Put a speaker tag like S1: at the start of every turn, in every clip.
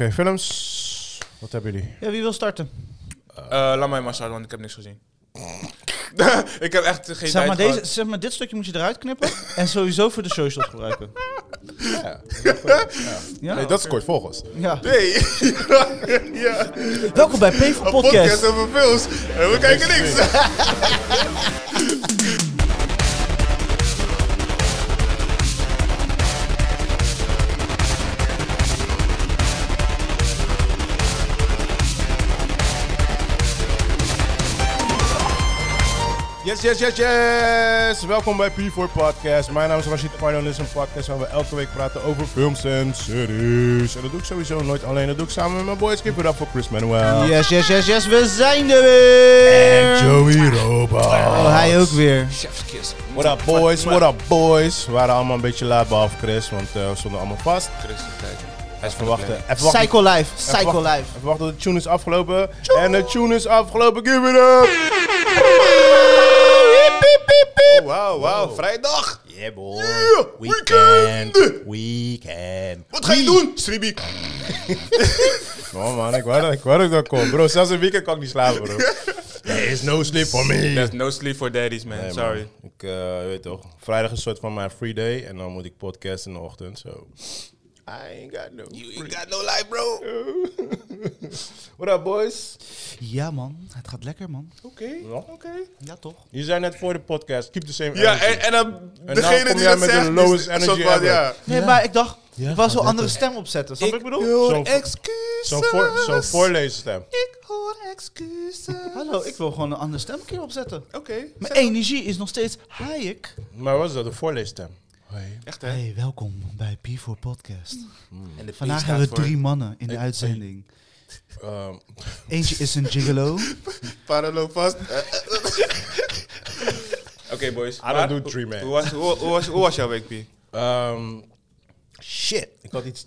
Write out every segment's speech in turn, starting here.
S1: Oké, films. Wat hebben jullie?
S2: Ja, wie wil starten?
S3: Eh, laat mij maar starten, want ik heb niks gezien. ik heb echt geen
S2: Zeg
S3: tijd
S2: maar, deze,
S3: gehad.
S2: zeg maar, dit stukje moet je eruit knippen en sowieso voor de socials gebruiken. Ja.
S1: Nee, dat is kort volgens.
S2: Ja.
S3: Nee, ja.
S2: Welkom bij P voor Podcast.
S3: over films. En we kijken niks.
S1: Yes, yes, yes, yes! Welkom bij P4 Podcast. Mijn naam is Rashid Parno en dit is een podcast waar we elke week praten over films en series. En dat doe ik sowieso nooit alleen, dat doe ik samen met mijn boys. Keep it up voor Chris Manuel.
S2: Yes, yes, yes, yes, we zijn er weer!
S1: En Joey Robot.
S2: Oh, hij ook weer.
S3: Chef's kiss.
S1: What up boys, what up boys. We waren allemaal een beetje laat, behalve Chris, want eh, we stonden allemaal vast.
S3: Christus, kijk. Hij is
S1: Even
S3: van
S1: wachten,
S3: wachten.
S1: even wachten.
S2: Psycho Life, Psycho
S1: wacht-
S2: Life.
S1: Even wachten tot de tune is afgelopen. En de tune is afgelopen, give it up! Oh,
S3: Wauw, wauw, vrijdag.
S1: Yeah boy.
S3: weekend.
S1: Weekend.
S3: Wat ga je doen? Stribi.
S1: Oh man, ik wou, dat- ik wou dat ik dat kon. Bro, zelfs een weekend kan ik niet slapen, bro. There is no sleep for me.
S3: There's no sleep for daddies, man.
S1: Nee, man.
S3: Sorry.
S1: Ik eh, je weet toch, vrijdag is een soort van mijn free day. En dan moet ik podcast in de ochtend, so... I ain't got no...
S3: You, got no life, bro.
S1: What up, boys?
S2: Ja man, het gaat lekker man.
S3: Oké,
S1: Oké.
S2: Ja toch?
S1: Je zei net voor de podcast, keep the same
S3: Ja,
S1: energy.
S3: en, en dan
S1: En nou
S3: degene
S1: kom
S3: die
S1: jij
S3: dat
S1: met de
S3: zegt... is
S1: lowest
S3: een soort
S1: energy
S3: van,
S1: ever.
S3: ja.
S2: Nee, maar ik dacht,
S1: Ja,
S2: ik was
S1: gaat
S2: een andere stem opzetten, snap je wat ik bedoel?
S1: Zo'n-
S3: hoor excuses.
S1: Zo'n voor, zo voorleesstem.
S3: Ik hoor excuses.
S2: Hallo, ik wil gewoon een andere stem een keer opzetten.
S3: Oké.
S2: Mijn energie is nog steeds Hayek.
S1: Maar wat is dat, een voorleesstem? Hey.
S3: Echt, hè?
S2: Hey, welkom bij P4 Podcast.
S3: En de
S2: Vandaag hebben we drie mannen in de uitzending.
S1: Ehm,
S2: Eentje is een gigolo.
S3: Parallel vast. Oké, boys.
S1: don't
S3: Maar
S1: do
S3: hoe-
S1: three man.
S3: Hoe was, hoe, hoe was, hoe was jouw week, P?
S1: ehm,
S2: Shit.
S1: ik had iets...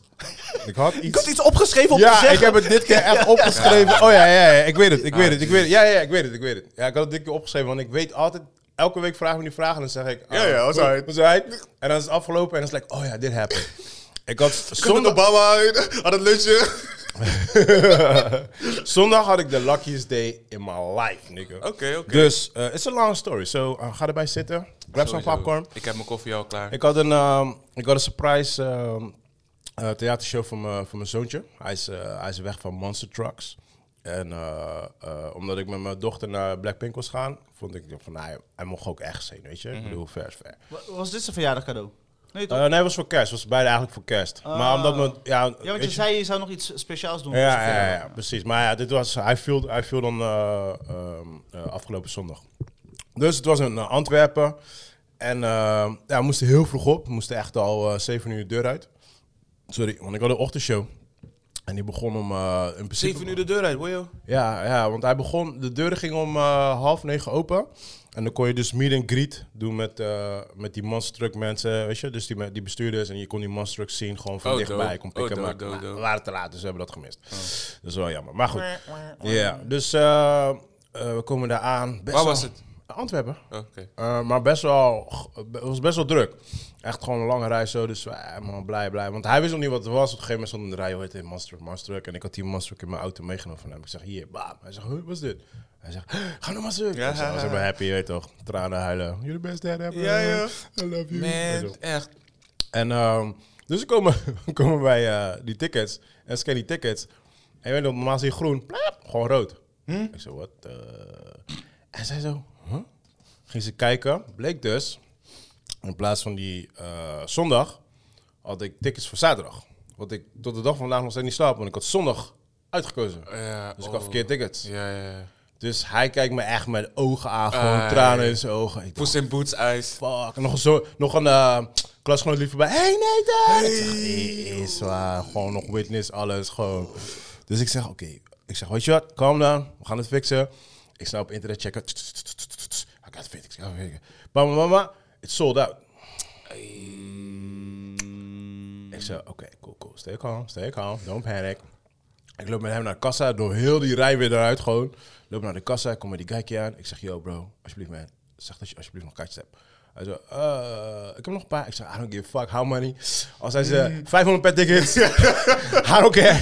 S1: Ik had
S2: Ik
S1: iets...
S2: had iets opgeschreven om te
S1: Ja,
S2: zeggen.
S1: ik heb het dit keer echt opgeschreven. Oh ja, ja, ja, ik weet het, ik
S3: Ah,
S1: weet het, ik weet het. Ja, ja, ja, ik weet het, ik weet het. Ja, ik had het dit keer opgeschreven, want ik weet altijd... Elke week vragen we die vragen en dan zeg ik... ah,
S3: Ja, ja, was
S1: goed,
S3: uit.
S1: Was uit. En dan is het afgelopen en dan is het like, oh ja, dit happened. Ik had zondag,
S3: Obama aan het lunchen.
S1: zondag had ik de luckiest day in my life, nigga.
S3: Oké, oké.
S1: Dus, eh it's a long story. So, eh, ga erbij zitten. Grab some popcorn.
S3: Ik heb mijn koffie al klaar.
S1: Ik had een, ehm, ik had een surprise ehm, eh, theatershow van mijn van mijn zoontje. Hij is, eh, hij is weg van Monster Trucks. En eh, eh, omdat ik met mijn dochter naar Blackpink was gaan, vond ik van nou, hij, hij mocht ook echt zijn, weet je.
S2: Mhm.
S1: Ik bedoel, ver is ver.
S2: Wa- Was dit zijn verjaardag cadeau? Nee toch?
S1: Eh, nee, het was voor kerst. Het was beide eigenlijk voor kerst. Maar omdat we, ja,
S2: Ah. ja,
S1: Eh, weet
S2: want je zei je zou nog iets speciaals doen.
S1: Ja,
S2: voor zijn
S1: ja, ja,
S2: verjaardag.
S1: ja, precies. Maar ja, dit was, hij viel, hij viel dan eh, ehm, eh, afgelopen zondag. Dus het was in eh, Antwerpen. En eh, ja, we moesten heel vroeg op. We moesten echt al eh 7 uur de deur uit. Sorry, want ik had een ochtendshow. En die begon om... eh in principe,
S3: Zeven uur de deur uit, Oh, wojo.
S1: Ja, ja, want hij begon... De deuren gingen om eh, half negen open. En dan kon je dus meet and greet doen met, eh, met die monster truck mensen, weet je. Dus die, me- die bestuurders. En je kon die monster truck zien gewoon van
S3: Oh,
S1: dichtbij.
S3: dope.
S1: Kon
S3: Oh,
S1: pikken,
S3: dope,
S1: maar
S3: dope,
S1: maar
S3: dope.
S1: we waren te laat, dus we hebben dat gemist.
S3: Oh.
S1: Dat is wel jammer. Maar goed. Ja, dus eh, eh, we komen daar aan. Best
S3: Waar
S1: wel-
S3: was het?
S1: Antwerpen.
S3: Oké.
S1: Eh, maar best wel, het was best wel druk. Echt gewoon een lange rij zo, dus wij, man, blij, blij. Want hij wist nog niet wat het was. Op een gegeven moment stond in de rij, hoe heet het, Monster, Monster. En ik had die Monster in mijn auto meegenomen van hem. Ik zeg, hier, bam. Hij zegt, huh, wat is dit? Hij zegt, "Huh, ga naar Monster.
S3: Ja.
S1: Ja. Ik zeg, ik ben happy, je weet toch. Tranen huilen. You're the best dad ever.
S3: Ja, ja.
S1: eh, I love you. En zo.
S3: Man, echt.
S1: En ehm, dus we komen, we komen bij eh, die tickets. En scan die tickets. En je weet nog, normaal zie je groen. plap, gewoon rood.
S3: Hm?
S1: Ik zei, wat? eh?" En zij zo, huh? Ging ze kijken. Bleek dus, in plaats van die eh, zondag, had ik tickets voor zaterdag. Want ik tot de dag van vandaag nog steeds niet slaap. Want ik had zondag uitgekozen.
S3: Ja,
S1: Dus ik
S3: oh.
S1: had verkeerd tickets.
S3: Ja, ja, ja.
S1: Dus hij kijkt me echt met ogen aan. Gewoon
S3: Ah,
S1: tranen
S3: ja.
S1: in zijn ogen. Ik dacht,
S3: Poes in boots ijs.
S1: fuck. En nog een, zo, nog een eh, klasgenoot liep voorbij. Hey Nathan! Ik zeg, hey, is waar. Gewoon nog witness, alles. Gewoon. Dus ik zeg, oké. Ik zeg, weet je wat? Kom dan. We gaan het fixen. Ik snap op internet checken. I got it fixed. I got it fixed. Mama, mama. It's sold out. Ik zei, oké, cool, cool. Stay calm, stay calm. Don't panic. Ik loop met hem naar de kassa, door heel die rij weer eruit gewoon. Loop naar de kassa, kom met die kijkje aan. Ik zeg, yo bro, alsjeblieft man, zeg dat je alsjeblieft nog kaartjes hebt. Hij zo, eh, ik heb nog een paar. Ik zei, I don't give a fuck, how money? Als hij zei, 500 per ticket. I don't care.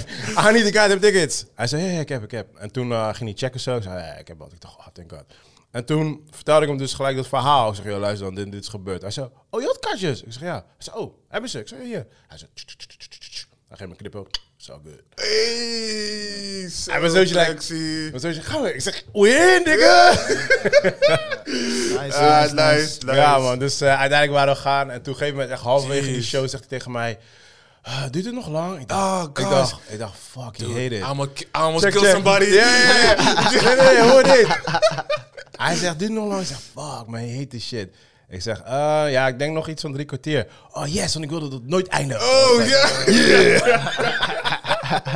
S1: I need the goddamn tickets. Hij zei, ja, ja, ik heb, ik heb. En toen eh, ging hij checken zo. Ik zei, ja, ik heb wat. Ik dacht, oh, thank god. En toen vertelde ik hem dus gelijk dat verhaal. Ik zeg, joh, luister dan, dit, dit is gebeurd. Hij zei, oh, je had kaartjes? Ik zeg, ja. Hij zei, oh, hebben ze? Ik zeg, ja, hier. Hij zei, tch, tch, tch, tch, tch, tch. hij geeft me een knip ook. It's all good.
S3: Hey, zo
S1: Hij was zo gelijk.
S3: sexy.
S1: Maar zo is hij, "Gaan we?" Ik zeg, win, nigga! Eh,
S2: Nice,
S3: Ah,
S2: nice, nice.
S3: nice, nice.
S1: Ja, man. Dus eh, uiteindelijk waren we gaan. En toen gegeven moment, echt halverwege die show, zegt hij tegen mij... "Ah, duurt het nog lang? Ik dacht,
S3: Oh,
S1: ik
S3: God.
S1: dacht, ik dacht fuck, you hate it.
S3: I'm a, I almost
S1: Check,
S3: killed
S1: check.
S3: somebody.
S1: Ja, ja, ja. Nee, nee, nee, hoor dit. Hij zegt, duurt het nog lang? Ik zeg, fuck, man, je hate this shit. Ik zeg, eh, ja, ik denk nog iets van drie kwartier. Oh, yes, want ik wilde dat het nooit eindigen.
S3: Oh,
S1: Ik zeg,
S3: ja.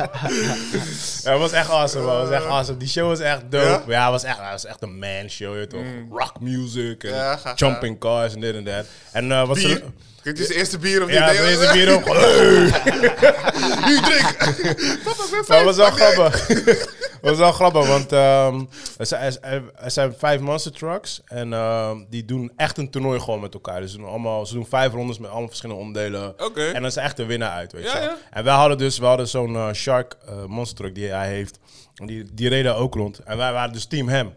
S1: Ja, het was echt awesome, man. Het was echt awesome. Die show was echt dope.
S3: Eh. Ja? Mm.
S1: Ja, het, was echt, het was echt een man show, je weet toch? Rock music en
S3: Ja, ga, ga.
S1: jumping cars en dit en dat. En eh, wat
S3: Bier.
S1: ze...
S3: Dit is de eerste bier of
S1: Ja,
S3: dit.
S1: toen is het weer op. Maar
S3: Nu drink. Papa, ik ben
S1: het was wel
S3: vijf.
S1: grappig. Het was wel grappig, want ehm, er, zijn, er zijn- er zijn vijf monster trucks. En ehm, die doen echt een toernooi gewoon met elkaar. Dus ze doen, allemaal, ze doen vijf rondes met allemaal verschillende onderdelen.
S3: Oké.
S1: En dan is er echt de winnaar uit, weet
S3: Ja,
S1: je wel.
S3: ja.
S1: En wij hadden dus we hadden zo'n eh, shark eh, monster truck die hij heeft. En Die, die reden ook rond. En wij waren dus team hem.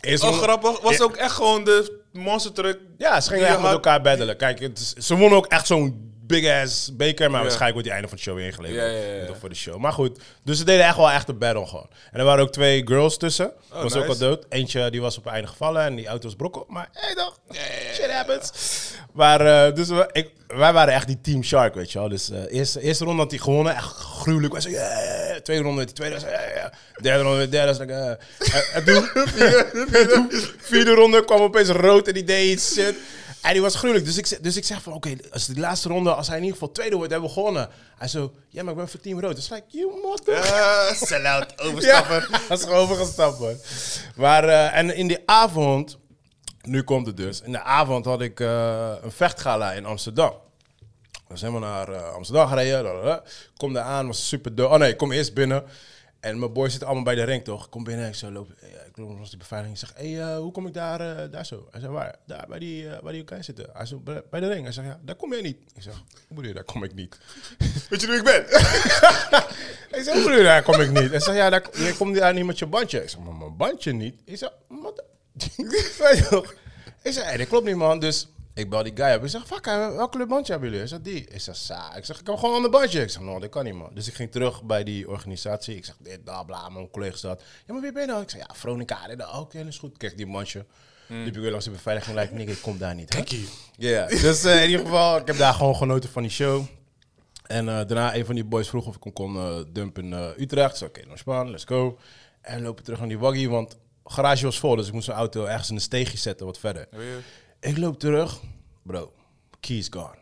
S1: Eerst
S3: Oh, grappig. Was ook echt gewoon de monster truck.
S1: Ja, ze gingen
S3: Die
S1: echt met
S3: had-
S1: elkaar battelen. Kijk, het is- ze wonnen ook echt zo'n big-ass beker. Maar
S3: Ja.
S1: waarschijnlijk wordt die einde van de show weer ingeleverd.
S3: Ja, ja, ja, ja.
S1: Toch Voor de show. Maar goed, dus ze deden echt wel echt een battle gewoon. En er waren ook twee girls tussen. was ook al
S3: Oh, nice.
S1: dood. Eentje die was op het einde gevallen en die auto was brokkel. Maar hey toch, shit happens. Maar eh, dus we- ik, wij waren echt die team Shark, weet je wel. Dus eh eerste, eerste ronde had hij gewonnen, echt gruwelijk. Wij zo, yeah, yeah, yeah. Tweede ronde werd hij tweede. was, yeah, yeah. Derde ronde werd derde. was, like, eh. en, en toen, en toen, vierde ronde kwam opeens rood en die deed iets shit. En die was gruwelijk. Dus ik, ze- dus ik zeg van, oké, als de laatste ronde, als hij in ieder geval tweede wordt, hebben we gewonnen. Hij zo, ja, maar ik ben voor team rood. Dus like, you mother...
S3: Eh, Sell-out, overstappen.
S1: Ja, dat is gewoon overgestapt, man. Maar, eh, en in die avond, nu komt het dus. In de avond had ik eh, een vechtgala in Amsterdam. We zijn we naar eh, Amsterdam gereden. lalala. Kom daar aan, was super dood. Oh nee, ik kom eerst binnen. En mijn boys zitten allemaal bij de ring, toch? Ik kom binnen, ik zo loop, eh, ik loop langs die beveiliging. Ik zeg, hey, eh, hoe kom ik daar, eh, daar zo? Hij zei, waar? Daar, bij die, eh, bij die elkaar zitten. Hij zei, bij, bij de ring. Hij zegt, ja, daar kom jij niet. Ik zeg, hoe bedoel je, daar kom ik niet?
S3: Weet je wie ik ben?
S1: Ik zeg, broer, daar kom ik niet. Hij zei, ja, daar, je komt daar niet met je bandje. Ik zeg, maar mijn bandje niet? Ik zeg, wat? Weet je nog? Ik zeg, hey, dat klopt niet, man. Dus ik bel die guy op. Ik zeg, fuck, eh, hè, welke kleur bandje hebben jullie? Hij zegt, die. Ik zeg, sa. Ik zeg, ik heb gewoon een ander bandje. Ik zeg, no, dat kan niet, man. Dus ik ging terug bij die organisatie. Ik zeg, dit, bla, bla. Mijn collega staat. Ja, maar wie ben je dan? Ik zeg, ja, Veronica. Dit, dat. Oké, dat is goed. Ik kreeg die bandje. Liep ik weer langs de beveiliging. Like, nigga, ik kom daar niet. Kijk Ja, dus eh, in ieder geval, ik heb daar gewoon genoten van die show. En eh, daarna een van die boys vroeg of ik hem kon eh, dumpen in eh, Utrecht. Ik zei, oké, dan Spaan, let's go. En we lopen terug naar die waggie, want garage was vol. Dus ik moest mijn auto ergens in een steegje zetten, wat verder. Ik loop terug. Bro, keys gone.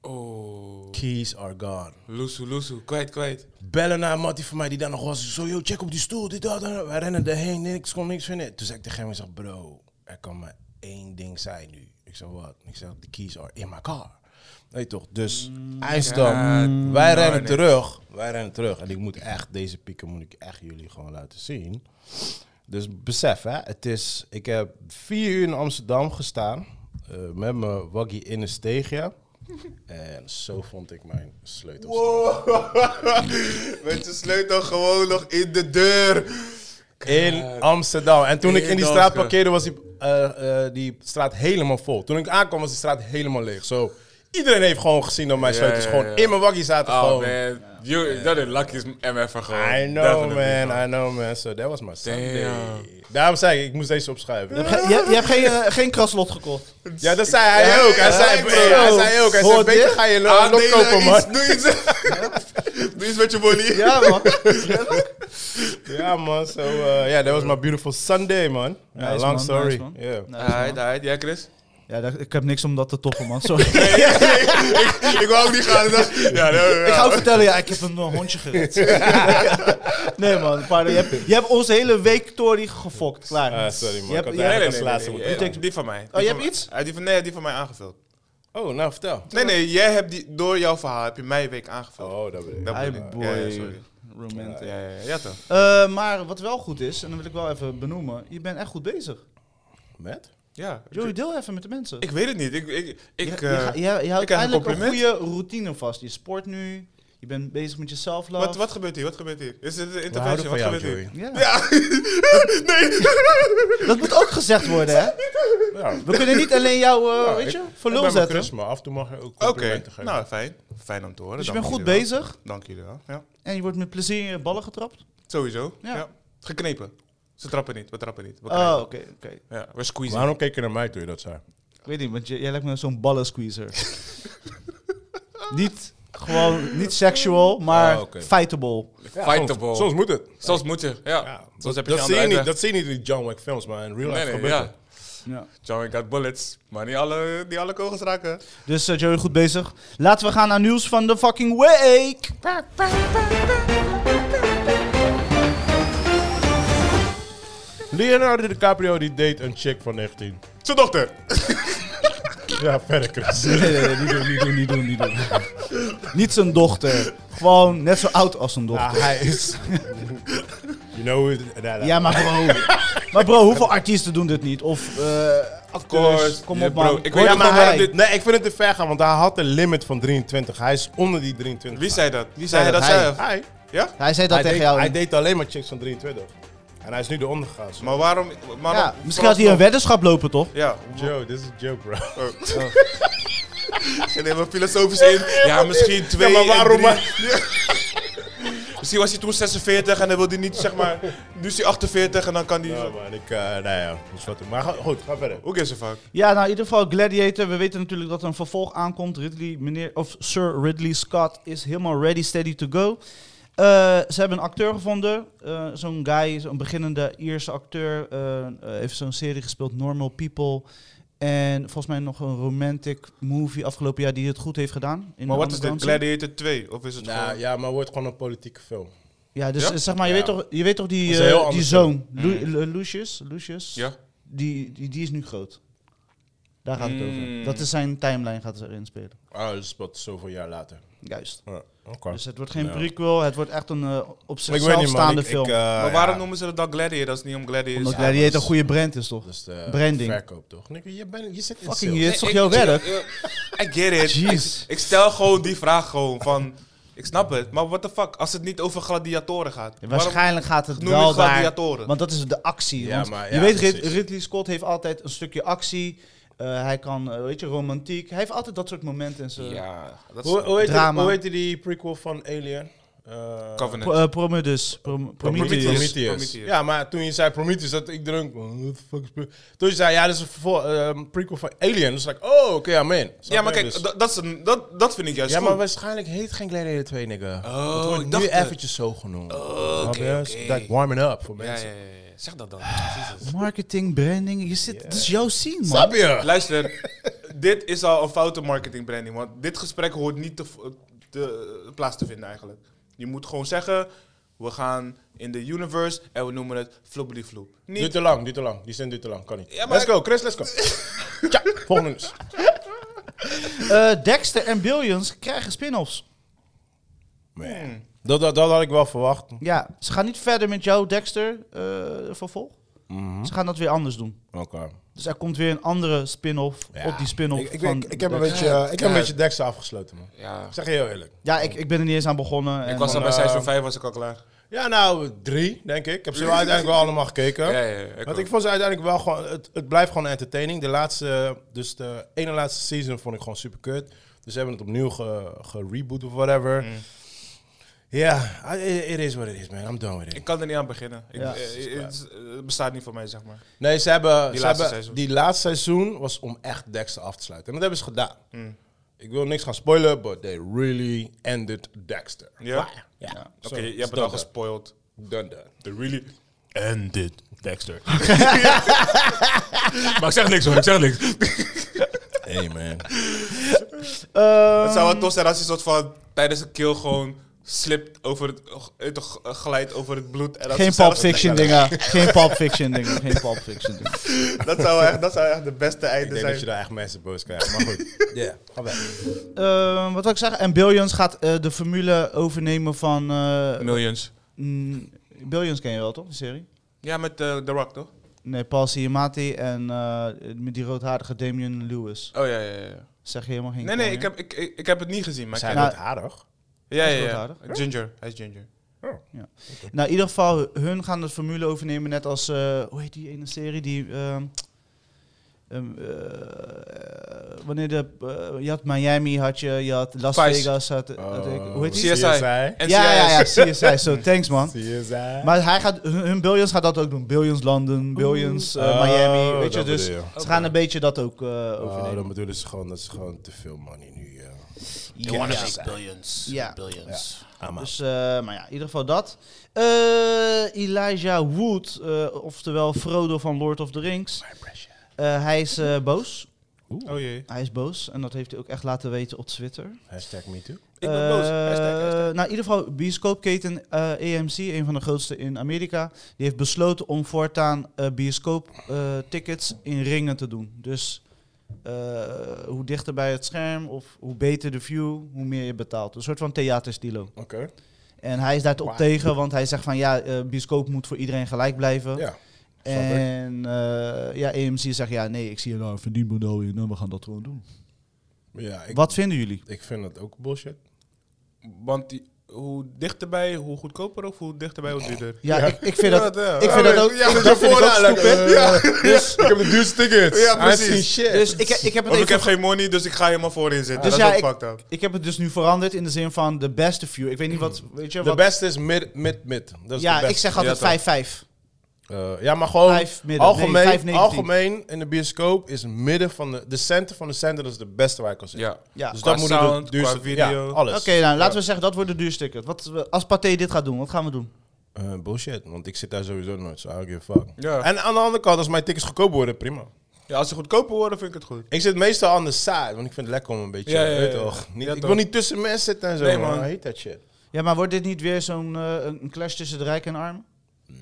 S3: Oh,
S1: Keys are gone.
S3: loesoe, loesoe. Kwijt, kwijt.
S1: Bellen naar een mattie van mij die daar nog was. Zo, yo, check op die stoel, dit, dat, dat. Wij rennen erheen, niks, kon niks vinden. Toen zei ik tegen hem, ik zeg, bro, er kan maar één ding zijn nu. Ik zeg, wat? Ik zeg, de keys are in my car. Weet je toch? Dus, eindstand. wij rennen terug. Wij rennen terug. En ik moet echt, deze pieken moet ik echt jullie gewoon laten zien. Dus besef, hè, het is, ik heb vier uur in Amsterdam gestaan. eh, met mijn waggie in een steegje. En zo vond ik mijn sleutels.
S3: Oh. Met je sleutel gewoon nog in de deur. Eh,
S1: In Amsterdam. En toen ik in die
S3: Heerlijk.
S1: straat parkeerde, was die, eh, eh, die straat helemaal vol. Toen ik aankwam, was die straat helemaal leeg. Zo, iedereen heeft gewoon gezien dat mijn
S3: Ja,
S1: sleutels
S3: ja,
S1: gewoon
S3: ja.
S1: in mijn wakkie zaten.
S3: Oh
S1: gewoon.
S3: man, You- dat is lucky is MF'er gewoon.
S1: I know,
S3: Definitely.
S1: man. I know, man. So, that was my Sunday.
S3: Damn.
S1: Daarom zei ik, ik moest deze opschuiven.
S2: Je, je hebt geen, eh, geen kraslot gekocht.
S1: Ja, dat zei hij ook. Hij
S3: Ja,
S1: zei,
S3: ik
S1: eh,
S3: zei
S1: hij
S2: ook.
S1: zei ook. Hij zei,
S2: Hoort
S1: beter
S2: dit?
S1: ga je lot
S3: Aandelen,
S1: kopen, man.
S3: iets- Ah, Doe iets, doe iets met je bolly.
S2: Ja, man.
S1: Ja, man. So, eh, yeah, that was my beautiful Sunday, man. Ja,
S2: Nice,
S1: long
S2: man,
S1: story.
S2: nice, man.
S1: Yeah.
S2: Nice, man.
S3: ja Chris?
S2: Ja, daar- ik heb niks om dat te toppen, man. Sorry.
S3: ik wou ook niet gaan. ik dacht- ja, nee, nee,
S2: Ik ga
S3: ja.
S2: ook vertellen, ja, ik heb een eh, hondje gered. nee, man. Pardon, je, hebt, je hebt onze hele week Tory gefokt. Klaar.
S1: Ah, sorry, man.
S2: Je
S1: Ik
S2: hebt-
S1: had
S2: je
S1: eigenlijk
S3: Nee,
S1: als
S3: nee,
S1: laatste
S3: nee,
S1: moeten
S3: nee,
S1: gaan.
S3: die van mij. Die
S2: Oh, je
S3: van
S2: hebt
S3: mij.
S2: iets?
S3: Ah, die van, nee, die van mij aangevuld.
S1: Oh, nou, vertel.
S3: Nee, nee, jij hebt die, door jouw verhaal heb je mijn week aangevuld.
S1: Oh, dat bedoel ik.
S3: Dat
S2: Hi,
S3: bedoel ik.
S2: boy.
S3: Ja, ja, sorry.
S2: Romantic.
S3: Ja, ja, ja, ja toch.
S2: Eh, maar wat wel goed is, en dat wil ik wel even benoemen. Je bent echt goed bezig.
S1: Met?
S3: Ja.
S2: Joey, deel even met de mensen.
S3: Ik weet het niet. Ik, ik,
S2: je,
S3: ik,
S2: je,
S3: eh,
S2: ga- je, je houdt
S3: krijg een
S2: eindelijk een
S3: compliment.
S2: goede routine vast. Je sport nu, je bent bezig met je self-love.
S3: wat, wat gebeurt hier? Wat gebeurt hier? Is dit een
S1: We houden
S3: interventie?
S1: van
S3: Wat
S1: jou,
S3: gebeurt hier?
S1: Joey.
S2: Ja.
S3: Ja. nee.
S2: Dat moet ook gezegd worden, hè?
S1: Ja.
S2: We kunnen niet alleen jou, eh,
S3: Nou,
S1: Ja,
S2: weet je,
S1: ik-
S2: voor
S1: Ik
S2: lul
S1: ben mijn
S2: zetten.
S1: Chris, maar af en toe mag je ook
S3: Oké.
S1: complimenten geven.
S3: Nou, fijn. Fijn om te horen.
S2: Dus je
S3: Dank
S2: bent goed
S3: jullie wel.
S2: bezig
S3: Dank jullie wel. Ja.
S2: en je wordt met plezier in je ballen getrapt.
S3: Sowieso.
S2: Ja.
S3: Ja. Geknepen. Ze trappen niet. We trappen niet. We
S2: Oh,
S3: knijpen.
S2: oké, oké.
S3: Ja, we squeezen.
S1: Waarom keek je naar mij toen je dat zei?
S2: Ik weet niet, want j- jij lijkt me zo'n ballensqueezer. niet gewoon, niet sexual, maar
S3: Oh,
S1: Ah, oké.
S2: fightable.
S1: Soms,
S3: Fightable. Soms,
S1: soms moet het.
S3: moet je. Ja. Soms heb je
S1: dat,
S3: geen
S1: zie je niet,
S3: andere uitweg.
S1: dat zie je niet in die John Wick films, maar in real life
S3: Nee, nee,
S1: gebeurt
S3: ja.
S1: het.
S2: Ja.
S3: John Wick had bullets, maar niet alle, niet alle kogels raken.
S2: Dus eh, Joey, goed bezig. Laten we gaan naar nieuws van de fucking week.
S1: Leonardo DiCaprio die date een chick van 19.
S3: Zijn dochter.
S1: Ja, verder Chris.
S2: Nee, nee, nee, niet doen, niet doen, niet doen, niet doen. niet zijn dochter. Gewoon net zo oud als zijn dochter.
S1: Ah, hij is... you know who... it- nah, nah.
S2: Ja, maar bro. maar bro, hoeveel artiesten doen dit niet? Of eh acteurs,
S3: course.
S2: kom
S3: Ja,
S2: op
S3: bro,
S2: man.
S3: ik weet
S2: Hoor je
S1: Ja, maar
S2: van mij?
S1: hij, dit, nee, ik vind het te ver gaan, want hij had een limit van 23. Hij is onder die 23.
S3: Wie zei dat? Wie
S2: zei
S3: zei
S2: dat?
S3: dat
S2: Hij.
S3: zelf?
S1: Hij,
S3: Ja?
S2: Hij zei dat
S1: hij,
S2: tegen
S1: deed,
S2: jou.
S1: hij deed alleen maar chicks van 23. En hij is nu de ondergegaan.
S3: Maar waarom? Maar
S2: ja, misschien had hij een weddenschap lopen, toch?
S3: Ja.
S1: Joe, dit is een joke, bro.
S3: Geen helemaal filosofisch in. Ja, misschien twee.
S1: maar
S3: en
S1: waarom
S3: drie. Misschien was hij toen 46 en dan wilde hij niet, zeg maar. Nu is hij 48 en dan kan hij.
S1: Ja,
S3: Hoe
S1: man, ik... eh nou ja, dat is wat doen. Maar ga- goed, ga verder.
S3: Who gives a fuck?
S2: Ja, nou in ieder geval Gladiator. We weten natuurlijk dat er een vervolg aankomt. Ridley, meneer, of Sir Ridley Scott is helemaal ready, steady to go. Eh, ze hebben een acteur gevonden. Eh, zo'n guy, zo'n beginnende Ierse acteur. eh, eh, heeft zo'n serie gespeeld, Normal People. En volgens mij nog een romantic movie afgelopen jaar die het goed heeft gedaan. in
S3: Maar
S2: de
S3: wat is dit?
S2: underground
S3: Gladiator 2? Of is het
S1: Nou,
S3: gewoon.
S1: ja, maar wordt gewoon een politieke film.
S2: Ja, dus
S3: Ja?
S2: zeg maar, je,
S1: Ja.
S2: weet toch, je weet toch die,
S1: Dat is een heel
S2: eh,
S1: ander
S2: die
S1: Mm.
S2: zoon, Lu- Lu- Lucius, Lucius
S3: Ja.
S2: die, die, die is nu groot. Daar gaat het over.
S3: Mm.
S2: Dat is zijn timeline gaat erin spelen.
S1: Ah, dat is wat zoveel jaar later.
S2: Juist.
S1: Ja, Oké.
S2: Dus het wordt geen
S1: Ja.
S2: prequel, het wordt echt een eh, op
S1: Maar ik weet
S2: zichzelf
S1: niet, man.
S2: staande
S1: Ik, ik,
S2: film.
S1: eh,
S3: Maar waarom
S1: ja,
S3: noemen ze dat dan Gladiator als het niet om Gladiator
S2: Omdat
S3: is?
S2: Gladiator
S1: dat
S2: een
S1: is-
S2: goede brand is, toch?
S1: dat is de
S2: Branding.
S1: verkoop, toch? Nick, je, bent je zit in
S2: Fucking
S1: sales.
S2: dit is toch jouw werk?
S3: I get it.
S2: Jeez.
S3: Ik stel gewoon die vraag gewoon van... Ik snap het, maar what the fuck? Als het niet over gladiatoren gaat.
S2: Ja,
S3: waarom-
S2: Waarschijnlijk gaat het
S3: noem je
S2: wel daar,
S3: gladiatoren?
S2: want dat is de actie.
S1: Ja,
S2: want
S1: maar ja,
S2: je weet, Rid-
S1: precies.
S2: Ridley Scott heeft altijd een stukje actie. Eh, hij kan, eh, weet je, romantiek. Hij heeft altijd dat soort momenten in zijn...
S3: Ja, dat is...
S1: Hoe, hoe, heet
S2: Drama.
S1: Die, hoe heet die prequel van Alien? Eh,
S3: Covenant.
S2: Pro- eh, Prometheus. Prom-
S1: Prometheus.
S2: Prometheus.
S3: Prometheus.
S1: Ja, maar toen je zei Prometheus, dat ik drunk. oh, what the fuck is Prometheus? Toen je zei, ja, dat is een vervol- eh, prequel van Alien. Dus ik, oh, oké, amen. Snap
S3: ja, maar
S1: je?
S3: kijk,
S1: Dus-
S3: dat, dat, is een, dat, dat vind ik juist
S1: ja, maar
S3: goed.
S1: waarschijnlijk heet geen Gladiator 2, nigga.
S3: Oh,
S1: dat
S3: ik
S1: wordt
S3: dacht
S1: nu
S3: het.
S1: eventjes zo genoemd.
S3: Oh, oké,
S1: Snap je? Dus
S3: oké.
S1: Dat warming up voor
S3: Ja,
S1: mensen.
S3: ja, ja, ja. Zeg dat dan. Jezus.
S2: Marketing, branding, je zit, dit is jouw scene, man.
S1: Snap je?
S3: Luister, dit is al een foute marketing branding. Want dit gesprek hoort niet te, v- te- plaats te vinden eigenlijk. Je moet gewoon zeggen... We gaan in de universe en we noemen het flobbly floep.
S1: Duurt
S3: Niet...
S1: te lang, duurt te lang. Die zin duurt te lang, kan niet.
S3: Ja, maar-
S1: Let's go, Chris, let's go. Tja, volgende nieuws.
S2: Eh, Dexter en Billions krijgen spin-offs.
S1: Man.
S3: Hmm.
S1: Dat, dat, dat had ik wel verwacht. Oké.
S2: Ja, ze gaan niet verder met jouw Dexter eh, vervolg.
S1: Mhm.
S2: Ze gaan dat weer anders doen. Dus er komt weer een andere spin-off
S1: Ja.
S2: op die spin-off.
S1: Ik, ik,
S2: van
S1: ik, ik heb een
S2: Dexter.
S1: beetje, eh, ik heb een beetje Dexter afgesloten, man.
S3: Ja,
S1: Ik zeg je heel eerlijk.
S2: Ja, ik, ik ben er niet eens aan begonnen. en
S3: ik was al bij
S1: eh,
S3: seizoen 5 was ik al klaar.
S1: Ja, nou, drie, denk ik. Ik heb ze wel uiteindelijk wel allemaal gekeken.
S3: Ja, ja, ja.
S1: Want ik vond ze uiteindelijk wel gewoon... Het, het blijft gewoon entertaining. De laatste... Dus de ene laatste season vond ik gewoon super kut. Dus ze hebben het opnieuw ge- gereboot of whatever.
S3: Mm.
S1: Ja, I- it is what it is, man. I'm done with it.
S3: Ik kan er niet aan beginnen. Ik,
S2: Ja.
S3: eh, eh, het, is- eh, het bestaat niet voor mij, zeg maar.
S1: Nee, ze hebben...
S3: Die
S1: ze
S3: laatste
S1: hebben,
S3: seizoen.
S1: Die laatste seizoen was om echt Dexter af te sluiten. En dat hebben ze gedaan.
S3: Mm.
S1: Ik wil niks gaan spoilen, but they really ended Dexter.
S3: Ja?
S1: Klaar. Ja.
S3: Oké,
S1: Zo,
S3: je
S1: is
S3: hebt het al
S1: done.
S3: gespoild.
S1: Done, done.
S3: The really...
S1: Ended Dexter.
S3: Maar ik zeg niks hoor, ik zeg niks.
S1: hey, man.
S2: Eh,
S3: het zou wel tof zijn als je soort van tijdens een kill gewoon slipt over het... eh, toch, eh, glijdt over het bloed. En dat
S2: geen
S3: ze zelf-
S2: Pulp Fiction dingen. Geen Pulp Fiction dingen. Geen Pulp Fiction dingen.
S3: Dat zou, echt, dat zou echt de beste
S1: Ik
S3: einde
S1: denk
S3: zijn.
S1: dat je daar echt mensen boos krijgt. Maar goed. Ja, ga weg.
S2: Eh, wat wil ik zeggen? En Billions gaat eh, de formule overnemen van... eh,
S3: Millions.
S2: mm, Billions ken je wel, toch? Die serie?
S3: Ja, met eh, The Rock, toch?
S2: Nee, Paul Siamati en eh, met die roodharige Damian Lewis.
S3: Oh ja, ja, ja, ja.
S2: Zeg je helemaal geen
S3: Nee,
S2: koning.
S3: nee, ik heb, ik, ik, ik heb het niet gezien. Maar ik
S1: Zijn
S3: ken
S1: dat
S2: Nou-
S1: aardig?
S3: het. ja,
S2: Is
S3: ja,
S2: het
S3: ja.
S2: aardig?
S3: Ginger, hij is Ginger.
S2: Nou, in ieder geval, hun gaan de formule overnemen. Net als, eh, hoe heet die ene serie? Die, ehm, ehm, eh, wanneer de, eh, je had Miami, had je, je had Las
S3: Vice.
S2: Vegas. Had, had
S1: Oh.
S2: ik- hoe heet die?
S3: CSI. En
S2: Ja, ja, ja,
S3: CIS.
S2: CSI. Zo, thanks man.
S1: CSI.
S2: Maar hij gaat, hun, hun Billions gaat dat ook doen. Billions London, Billions eh,
S1: Oh,
S2: Miami. Weet je,
S1: dat
S2: dus
S1: bedoel
S2: ze gaan een beetje dat ook eh,
S1: Oh,
S2: overnemen.
S1: dan bedoelen ze gewoon dat is gewoon te veel money nu. eh, ja.
S4: You want
S2: Ja.
S4: to make billions.
S2: Yeah.
S4: Billions.
S1: Ah, maar.
S2: Dus, eh, maar ja, in ieder geval dat. Eh, Elijah Wood, eh, oftewel Frodo van Lord of the Rings. Eh, hij is eh, boos.
S3: Oh jee.
S2: Hij is boos. En dat heeft hij ook echt laten weten op Twitter.
S1: Hashtag MeToo.
S3: Ik ben boos.
S2: Eh,
S3: Hashtag, hashtag.
S2: Nou, in ieder geval, bioscoopketen eh AMC, een van de grootste in Amerika, die heeft besloten om voortaan eh, bioscooptickets in ringen te doen. Dus eh, hoe dichter bij het scherm of hoe beter de view, hoe meer je betaalt. Een soort van theaterstilo.
S1: Oké.
S2: En hij is daar op
S1: Wauw.
S2: tegen, want hij zegt van ja, eh, bioscoop moet voor iedereen gelijk blijven.
S1: Ja. snap ik.
S2: en eh, ja, EMC zegt ja, nee, ik zie er nou een verdienmodel in en we gaan dat gewoon doen.
S1: Ja, ik,
S2: Wat vinden jullie?
S1: ik vind dat ook bullshit.
S3: Want die, hoe dichterbij, hoe goedkoper of hoe dichterbij, hoe duurder.
S2: Ja, Ik, ik vind dat, ik vind dat ook...
S3: Ja, dat
S2: dat vind ik ook
S3: stupid.
S1: Dus, ik heb de duurste tickets.
S3: Ja, precies.
S1: I see shit.
S2: Dus ik, ik, heb het
S3: Of ik
S2: even
S3: heb geen money, dus ik ga helemaal voorin zitten.
S2: Dus
S3: dat
S2: ja,
S3: is ook
S2: ik-
S3: fucked up. Hmm.
S2: Ik heb het dus nu veranderd in de zin van de beste view. Ik weet niet wat, weet je
S1: De
S2: wat?
S1: beste is mid, mid, mid. Dat is
S2: ja,
S1: de beste.
S2: ik zeg
S3: Ja, toch.
S2: altijd 5-5.
S1: Eh, ja, maar gewoon
S2: Vijf midden. Nee,
S1: algemeen,
S2: vijf negentien.
S1: algemeen in de bioscoop is midden van de... De center van de center is de beste waar ik kan zitten.
S3: Ja.
S2: ja.
S1: Dus
S3: Qua
S1: dat moet ik doen.
S3: sound,
S1: Duurste
S3: qua video.
S1: Ja, alles.
S2: Oké, nou laten we zeggen dat wordt de duursticket. Wat, we- als Pathé dit gaat doen, wat gaan we doen?
S1: Eh, bullshit, want ik zit daar sowieso nooit, so I don't give a fuck.
S3: Ja.
S1: En aan de andere kant, als mijn tickets goedkoop worden, prima.
S3: ja, als ze goedkoper worden, vind ik het goed.
S1: Ik zit meestal aan de side, want ik vind het lekker om een beetje...
S3: Ja, ja, ja,
S1: weet
S3: ja.
S1: toch, niet,
S3: Ja,
S1: ik
S3: toch.
S1: wil niet tussen mensen zitten en zo.
S3: Nee,
S1: man.
S3: man.
S1: I hate that shit.
S2: Ja, maar wordt dit niet weer zo'n eh, een clash tussen de rijk en arm?
S3: Hmm.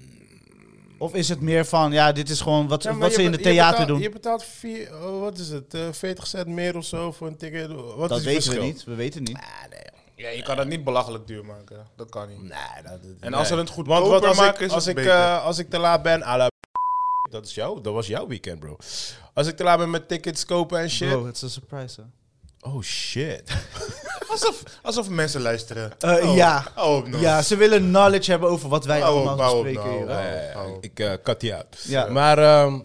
S2: Of is het meer van, ja, dit is gewoon wat,
S1: Ja, maar
S2: wat
S1: je
S2: ze in
S1: be-
S2: het theater
S1: je betaalt,
S2: doen?
S1: Je betaalt vier, oh, wat is het, eh, 40 cent meer of zo voor een ticket. Wat
S2: dat
S1: is het
S2: weten we
S1: verschil?
S2: niet. We weten niet.
S1: Ah,
S3: Ja, je kan dat niet belachelijk duur maken. Dat kan niet.
S1: Nee, dat, dat-
S3: En als
S1: nee.
S3: we het goedkoper
S1: Want wat als ik,
S3: maken, is
S1: als
S3: het
S1: ik,
S3: beter.
S1: eh, als ik te laat ben, à la dat, is jou, dat was jouw weekend, bro. Als ik te laat ben met tickets kopen en shit.
S2: Bro, het is een surprise, hè?
S1: Oh shit.
S3: Alsof, alsof mensen luisteren.
S2: Eh, ja.
S3: Oh, no.
S2: Ja, ze willen knowledge hebben over wat wij
S3: Hou op,
S2: allemaal
S3: hou op,
S2: bespreken
S3: nou.
S2: hier. hè?
S3: Oh,
S1: Eh,
S3: oh.
S1: Ik eh cut die uit.
S2: Ja.
S1: Maar ehm,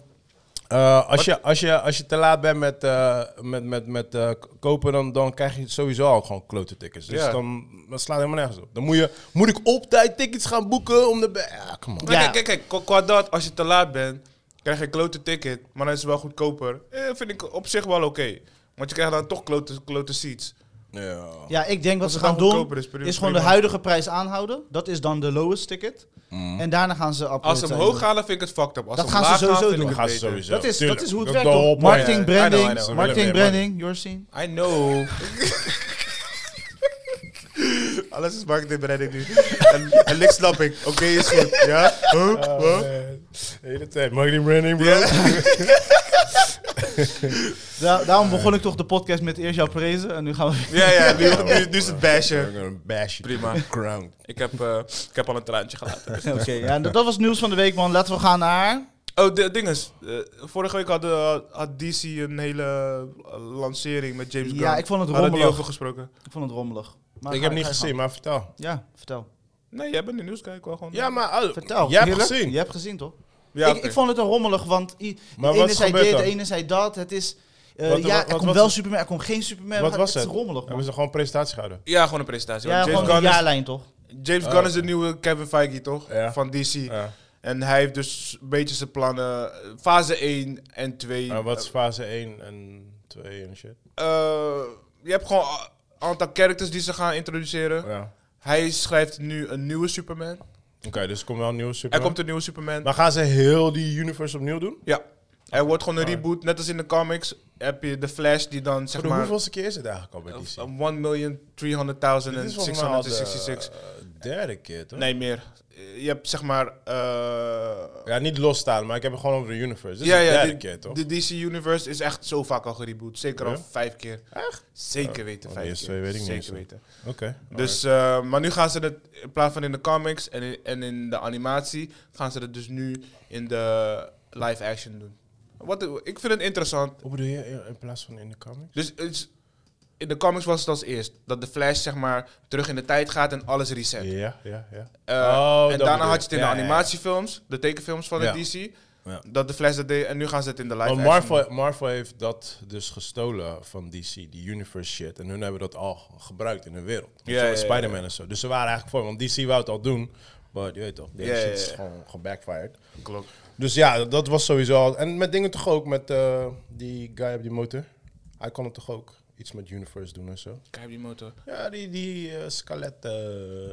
S1: eh, als, je, als, je, als je te laat bent met, eh, met, met, met eh, k- kopen, dan, dan krijg je sowieso al gewoon klote tickets. Dus
S3: Ja.
S1: dan dat slaat helemaal nergens op. Dan moet, je, moet ik op tijd tickets gaan boeken om de... be- Ja, come on.
S3: Maar
S2: Ja.
S3: Kijk, kijk, kijk, qua dat, als je te laat bent, krijg je een klote ticket, maar dan is het wel goedkoper. Eh, vind ik op zich wel oké. Want je krijgt dan toch klote, klote seats.
S1: Ja.
S2: Ja, ik denk wat
S3: Oh. Als
S2: ze
S3: het
S2: gaan
S3: dan
S2: doen
S3: goedkoper
S2: is,
S3: is, prima.
S2: gewoon de huidige prijs aanhouden. Dat is dan de lowest ticket.
S1: Mm.
S2: En daarna gaan ze
S3: Als ze
S2: uploaden.
S3: omhoog gaan, dan vind ik het fucked up. Als
S2: Dat
S3: ze
S2: gaan ze
S3: omlaag
S2: sowieso
S3: vind ik
S2: doen.
S1: Dan gaan
S3: het
S1: ze
S3: beter.
S1: sowieso.
S2: Dat is,
S1: Tuurlijk.
S2: dat is hoe het
S1: Dat-
S2: werkt.
S1: de whole
S2: toch?
S1: point.
S2: Marketing,
S3: Ja, ja, I know, I
S2: branding,
S3: know. Ze
S2: marketing,
S1: willen meer
S2: branding, your scene.
S3: I know. Alles is marketing bereid nu. En, en niks snap ik. Oké, is goed. Ja? Huh? Huh?
S1: De hele tijd. Marketing branding, bro.
S2: Da- daarom begon ik toch de podcast met eerst jouw prezen. En nu gaan we...
S3: Ja, ja. Nu, nu, nu is het bashen.
S1: Een bash you
S3: Prima.
S1: to the ground.
S3: Ik heb, eh, ik heb al een traantje gelaten.
S2: Oké, ja, en dat dat was nieuws van de week, man. Laten we gaan naar...
S3: Oh, de dinges. Eh, vorige week had, eh, had DC een hele eh, lancering met James
S2: Ja,
S3: Gunn.
S2: ik vond het
S3: Hadden die
S2: rommelig.
S3: over gesproken.
S2: Ik vond het rommelig. Maar
S1: Ik
S2: ga-
S1: heb niet
S2: ga je
S1: gezien, maar vertel.
S2: gang. Ja, vertel.
S3: Nee, jij bent de nieuwskijker wel gewoon.
S1: Ja, maar... oh,
S2: Vertel.
S1: Jij hebt
S2: Heerlijk.
S1: gezien.
S2: Je hebt gezien, toch?
S3: Ja,
S2: ik,
S3: oké.
S2: ik vond het een rommelig, want i-
S1: Maar
S2: de
S1: wat
S2: ene
S1: is
S2: zei
S1: gebeurd
S2: dit, de
S1: dan?
S2: ene zei dat. Het is... eh,
S1: Wat-
S2: ja,
S1: wat-
S2: er
S1: wat
S2: komt
S1: was
S2: wel
S1: het?
S2: Superman, er komt geen Superman.
S1: Wat
S2: Het-
S1: was
S2: Het
S1: het?
S2: is rommelig, man.
S1: Hebben ze gewoon een presentatie gehouden?
S3: ja, gewoon een presentatie.
S2: Ja,
S3: Want James,
S2: gewoon de
S3: Gunn is,
S2: jaarlijn, toch?
S3: James Gunn is de nieuwe Kevin Feige, toch?
S1: Ja.
S3: Van DC.
S1: Ja.
S3: En hij heeft dus een beetje zijn plannen. eh, Fase 1 en 2.
S1: Maar wat is fase 1 en 2 en shit?
S3: Eh, je hebt gewoon een aantal characters die ze gaan introduceren.
S1: Ja.
S3: Hij schrijft nu een nieuwe Superman.
S1: Oké, dus er komt wel een nieuwe super.
S3: Er komt een nieuwe Superman.
S1: Maar gaan ze heel die universe opnieuw doen?
S3: Ja. Er wordt gewoon een reboot. Net als in de comics heb je de Flash die dan zeg
S1: Voor de
S3: maar...
S1: hoeveelste keer is het eigenlijk al bij DC?
S3: Of, uh, 1.300.000 en 666.
S1: de derde keer, toch?
S3: Nee, meer. Je hebt zeg maar... eh,
S1: Ja, niet losstaan, maar ik heb het gewoon over de universe. Dit is
S3: ja,
S1: de
S3: ja,
S1: derde
S3: de,
S1: keer, toch?
S3: de DC Universe is echt zo vaak al gereboot. Zeker al
S1: Ja?
S3: vijf keer.
S1: Echt?
S3: Zeker weten,
S1: oh, de
S3: vijf
S1: eerste
S3: keer.
S1: twee weet ik niet eens,
S3: Zeker
S1: hoor.
S3: weten.
S1: Oké.
S3: Dus, eh, maar nu gaan ze het, in plaats van in de comics en in, en in de animatie, gaan ze het dus nu in de live action doen. Wat, ik vind het interessant.
S1: Hoe bedoel je in- in plaats van in de comics?
S3: Dus het is- in de comics was het als eerst. Dat de Flash zeg maar terug in de tijd gaat en alles reset.
S1: Ja, ja, ja. Oh,
S3: Eh, en
S1: dat
S3: daarna
S1: bedoel
S3: had je het in
S1: je. Ja,
S3: de
S1: ja, ja.
S3: animatiefilms, de tekenfilms van
S1: Ja.
S3: de DC.
S1: Ja.
S3: Dat de Flash dat deed en nu gaan ze het in de live
S1: Want
S3: action
S1: Marvel, Marvel heeft dat dus gestolen van DC, die universe shit. En hun hebben dat al gebruikt in hun wereld.
S3: Ja,
S1: Ja,
S3: ja,
S1: met
S3: ja,
S1: Spider-Man en zo. Dus ze waren eigenlijk voor, want DC wou het al doen. Maar je weet toch, deze
S3: Ja, ja,
S1: shit is
S3: ja.
S1: gewoon gebackfired.
S3: doen. Klopt.
S1: Dus ja, dat- dat was sowieso al. En met dingen toch ook, met eh, die guy op die motor. Hij kon het toch ook iets met universe doen en zo.
S3: Kijk die motor.
S1: Ja, die, die eh skelet, eh,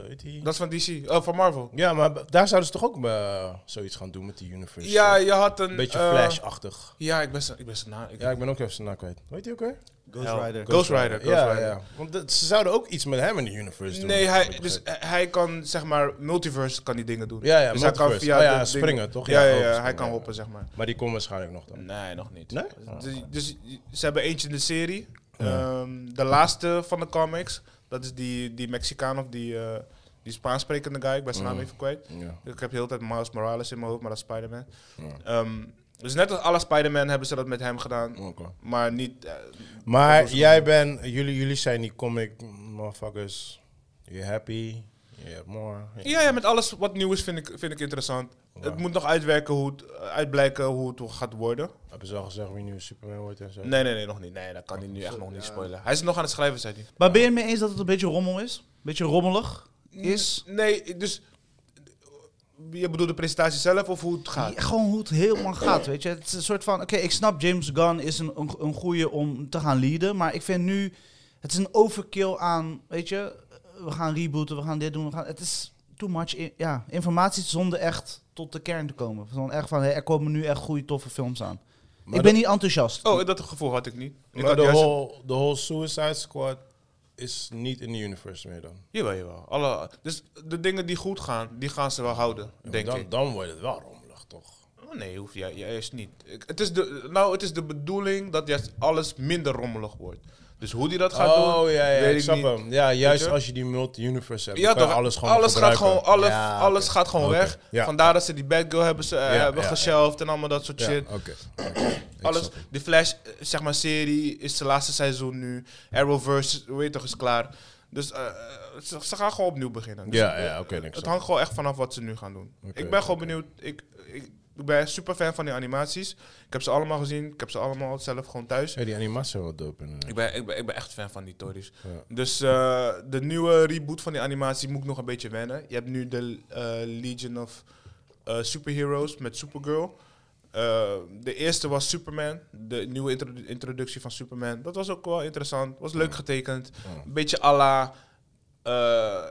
S1: weet je.
S3: Dat is van DC, oh, van Marvel.
S1: Ja, maar b- daar zouden ze toch ook eh, zoiets gaan doen met die universe.
S3: Ja,
S1: shit?
S3: je had een...
S1: Een beetje
S3: eh,
S1: Flash-achtig.
S3: Ja, ik ben zo- ik ben zo na. ik-
S1: Ja, ik ben ook even zijn naam kwijt. Weet je ook weer?
S2: Ghost
S3: Hell.
S2: Rider.
S3: Ghost Rider. Ghost
S1: ja,
S3: Rider.
S1: ja. Want dat- ze zouden ook iets met hem in de universe doen.
S3: Nee,
S1: heb
S3: hij,
S1: ik
S3: dus
S1: begrepen.
S3: hij kan zeg maar multiverse kan die dingen doen.
S1: Ja, ja,
S3: dus hij kan
S1: multiverse.
S3: via
S1: Oh ja,
S3: de dingen-
S1: springen, toch?
S3: Ja,
S1: Ja,
S3: ja,
S1: hoppen,
S3: ja, hij
S1: springen,
S3: kan
S1: ja.
S3: hoppen zeg maar.
S1: Maar die komt waarschijnlijk nog dan.
S3: Nee, nog niet.
S1: Nee? Ah,
S3: Dus, dus ze hebben eentje in de serie. Ehm, de laatste van de comics, dat is die, die Mexicaan of die, eh, die Spaans sprekende guy. Ik ben zijn
S1: Mhm.
S3: naam even kwijt.
S1: Ja.
S3: Ik heb de hele tijd Miles Morales in mijn hoofd, maar dat is Spider-Man. Ehm, dus net als alle Spider-Man hebben ze dat met hem gedaan.
S1: Oké.
S3: Maar niet... eh,
S1: Maar
S3: Dat was
S1: jij bent, jullie, jullie zijn die comic motherfuckers. You happy, you have more.
S3: ja, ja, met alles wat nieuw is vind ik, vind ik interessant. Het moet nog uitwerken hoe het, eh, uitblijken hoe het gaat worden.
S1: Hebben ze al gezegd wie nu Superman wordt en zo?
S3: Nee, nee, nee, nog niet. Nee, dat kan hij nu echt nog niet spoilen. Hij is nog aan het schrijven, zei hij.
S2: Maar ben je het mee eens dat het een beetje rommel is? Een beetje rommelig is?
S3: Nee, dus... Je bedoelt de presentatie zelf of hoe het gaat?
S2: Ja, gewoon hoe het helemaal gaat, weet je. Het is een soort van, oké, ik snap James Gunn is een, een, een goeie om te gaan leaden, maar ik vind nu, het is een overkill aan, weet je, we gaan rebooten, we gaan dit doen, we gaan, het is too much, in- ja, informatie zonder echt tot de kern te komen. Van echt van, hé, er komen nu echt goede, toffe films aan.
S1: Maar
S2: ik ben
S1: de-
S2: niet enthousiast.
S3: Oh, dat gevoel had ik niet. Ik
S1: Maar
S3: had
S1: de
S3: juist...
S1: whole, de whole Suicide Squad is niet in de universe meer dan.
S3: Jawel, jawel. Alle... Dus de dingen die goed gaan, die gaan ze wel houden,
S1: Ja,
S3: denk
S1: dan,
S3: ik.
S1: dan wordt het wel rommelig, toch?
S3: Oh, nee, hoef jij juist niet. Ik- het, is de, nou, het is de bedoeling dat juist alles minder rommelig wordt. Dus hoe die dat gaat doen,
S1: oh, ja, ja,
S3: weet
S1: ik snap
S3: niet.
S1: hem. Ja, juist
S3: je?
S1: als je die multi-universe hebt,
S3: Ja,
S1: dan kan je
S3: toch,
S1: alles gewoon oh,
S3: alles gaat
S1: gebruiken.
S3: gewoon, alle,
S1: Ja,
S3: alles
S1: oké.
S3: gaat gewoon
S1: Oké,
S3: weg.
S1: Ja,
S3: Vandaar dat ze die Batgirl hebben, ze, eh,
S1: Ja,
S3: hebben
S1: ja,
S3: geshelft en allemaal dat soort
S1: ja,
S3: shit.
S1: oké. oké. Ik
S3: Alles,
S1: snap het.
S3: de Flash, eh, zeg maar, serie is zijn laatste seizoen nu. Arrowverse, weet je toch, is klaar. Dus eh, eh, ze, ze gaan gewoon opnieuw beginnen. Dus,
S1: Ja,
S3: eh,
S1: ja, oké. ik
S3: het
S1: snap
S3: hangt gewoon echt vanaf wat ze nu gaan doen.
S1: Oké,
S3: ik ben gewoon benieuwd. Ik, ik, ik ben super fan van die animaties. Ik heb ze allemaal gezien. Ik heb ze allemaal zelf gewoon thuis.
S1: Hey, die animatie was wel dope. eh? inderdaad.
S3: Ik ben, ik, ben, ik ben echt fan van die tories.
S1: Ja.
S3: Dus eh, de nieuwe reboot van die animatie moet ik nog een beetje wennen. Je hebt nu de eh, Legion of eh, Superheroes met Supergirl. Eh, de eerste was Superman. De nieuwe introdu- introductie van Superman. Dat was ook wel interessant. Was leuk getekend.
S1: Ja.
S3: Een beetje à la eh,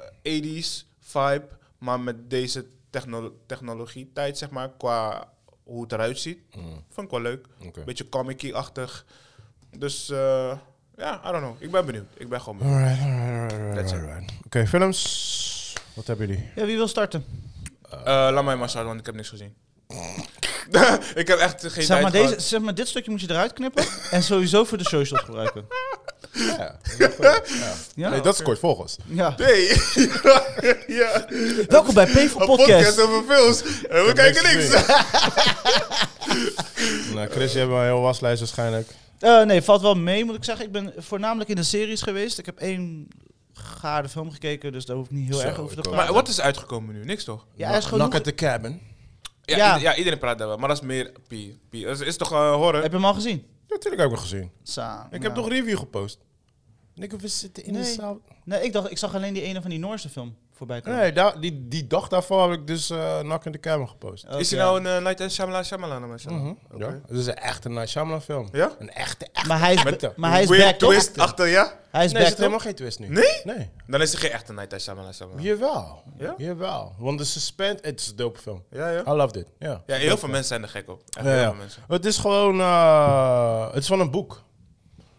S3: 80s vibe. Maar met deze technolo- technologie-tijd, zeg maar. Qua hoe het eruit ziet.
S1: Mm,
S3: Vond ik wel leuk.
S1: oké.
S3: Beetje comic-achtig. Dus eh, ja, I don't know. Ik ben benieuwd. Ik ben gewoon benieuwd.
S1: Alright, alright, alright,
S3: That's it.
S1: alright. Oké, films. Wat hebben jullie?
S2: Ja, wie wil starten?
S3: Eh, laat mij maar starten, want ik heb niks gezien. ik heb echt geen
S2: Zeg
S3: tijd
S2: maar, deze,
S3: gehad.
S2: zeg maar, dit stukje moet je eruit knippen en sowieso voor de socials gebruiken.
S1: Ja.
S2: Ja?
S1: Nee, dat is kort volgens.
S2: ja.
S3: Nee. ja.
S2: Welkom bij P voor
S3: Een podcast
S2: Podcast.
S3: over films. En we
S1: heb
S3: kijken
S1: niks
S3: niks.
S1: Nou, Chris, je hebt wel een heel waslijst waarschijnlijk.
S2: Eh, nee, valt wel mee, moet ik zeggen. Ik ben voornamelijk in de series geweest. Ik heb één gaarde film gekeken, dus daar hoef ik niet heel
S1: Zo,
S2: erg over te
S1: ik ook.
S2: praten.
S3: Maar wat is uitgekomen nu? Niks toch?
S2: Ja, er is genoeg.
S1: Knock at the cabin.
S3: Ja,
S2: Ja.
S3: ieder- ja, iedereen praat daar wel. Maar dat is meer P. P. Dat is, is toch eh, horror?
S2: Heb je hem al gezien?
S1: Ja, natuurlijk heb ik nog gezien.
S2: Sa-
S1: Ik heb
S2: nou.
S1: toch een review gepost. Nick, we zitten in de
S2: Nee.
S1: zaal.
S2: Nee, ik, dacht, ik zag alleen die ene van die Noorse film voorbij komen.
S1: Nee, daar- die, die dag daarvoor heb ik dus eh Knock at the cabin gepost.
S2: Oké.
S3: Is hij nou een uh, Light and Shyamalan Shyamalan?
S1: Mhm, Ja. Het is een echte Night Shyamalan film.
S3: Ja?
S1: Een echte, echte.
S2: Maar hij is,
S1: Met de-
S2: maar hij is
S3: Weird
S2: back, toch?
S3: twist achter, ja?
S2: Hij
S1: Nee,
S2: is
S1: er
S2: back,
S1: zit helemaal geen twist nu.
S3: Nee?
S1: Nee.
S3: Dan is hij geen echte Night and Shyamalan Shyamalan.
S1: Jawel.
S3: Ja?
S1: Jawel. Want de suspense... Het is een dope film.
S3: Ja, ja.
S1: I loved it. Ja.
S3: Ja, heel veel mensen zijn er gek op. Echt
S1: Ja,
S3: heel
S1: ja.
S3: veel mensen.
S1: Het is gewoon... eh, het is van een boek.
S2: toch?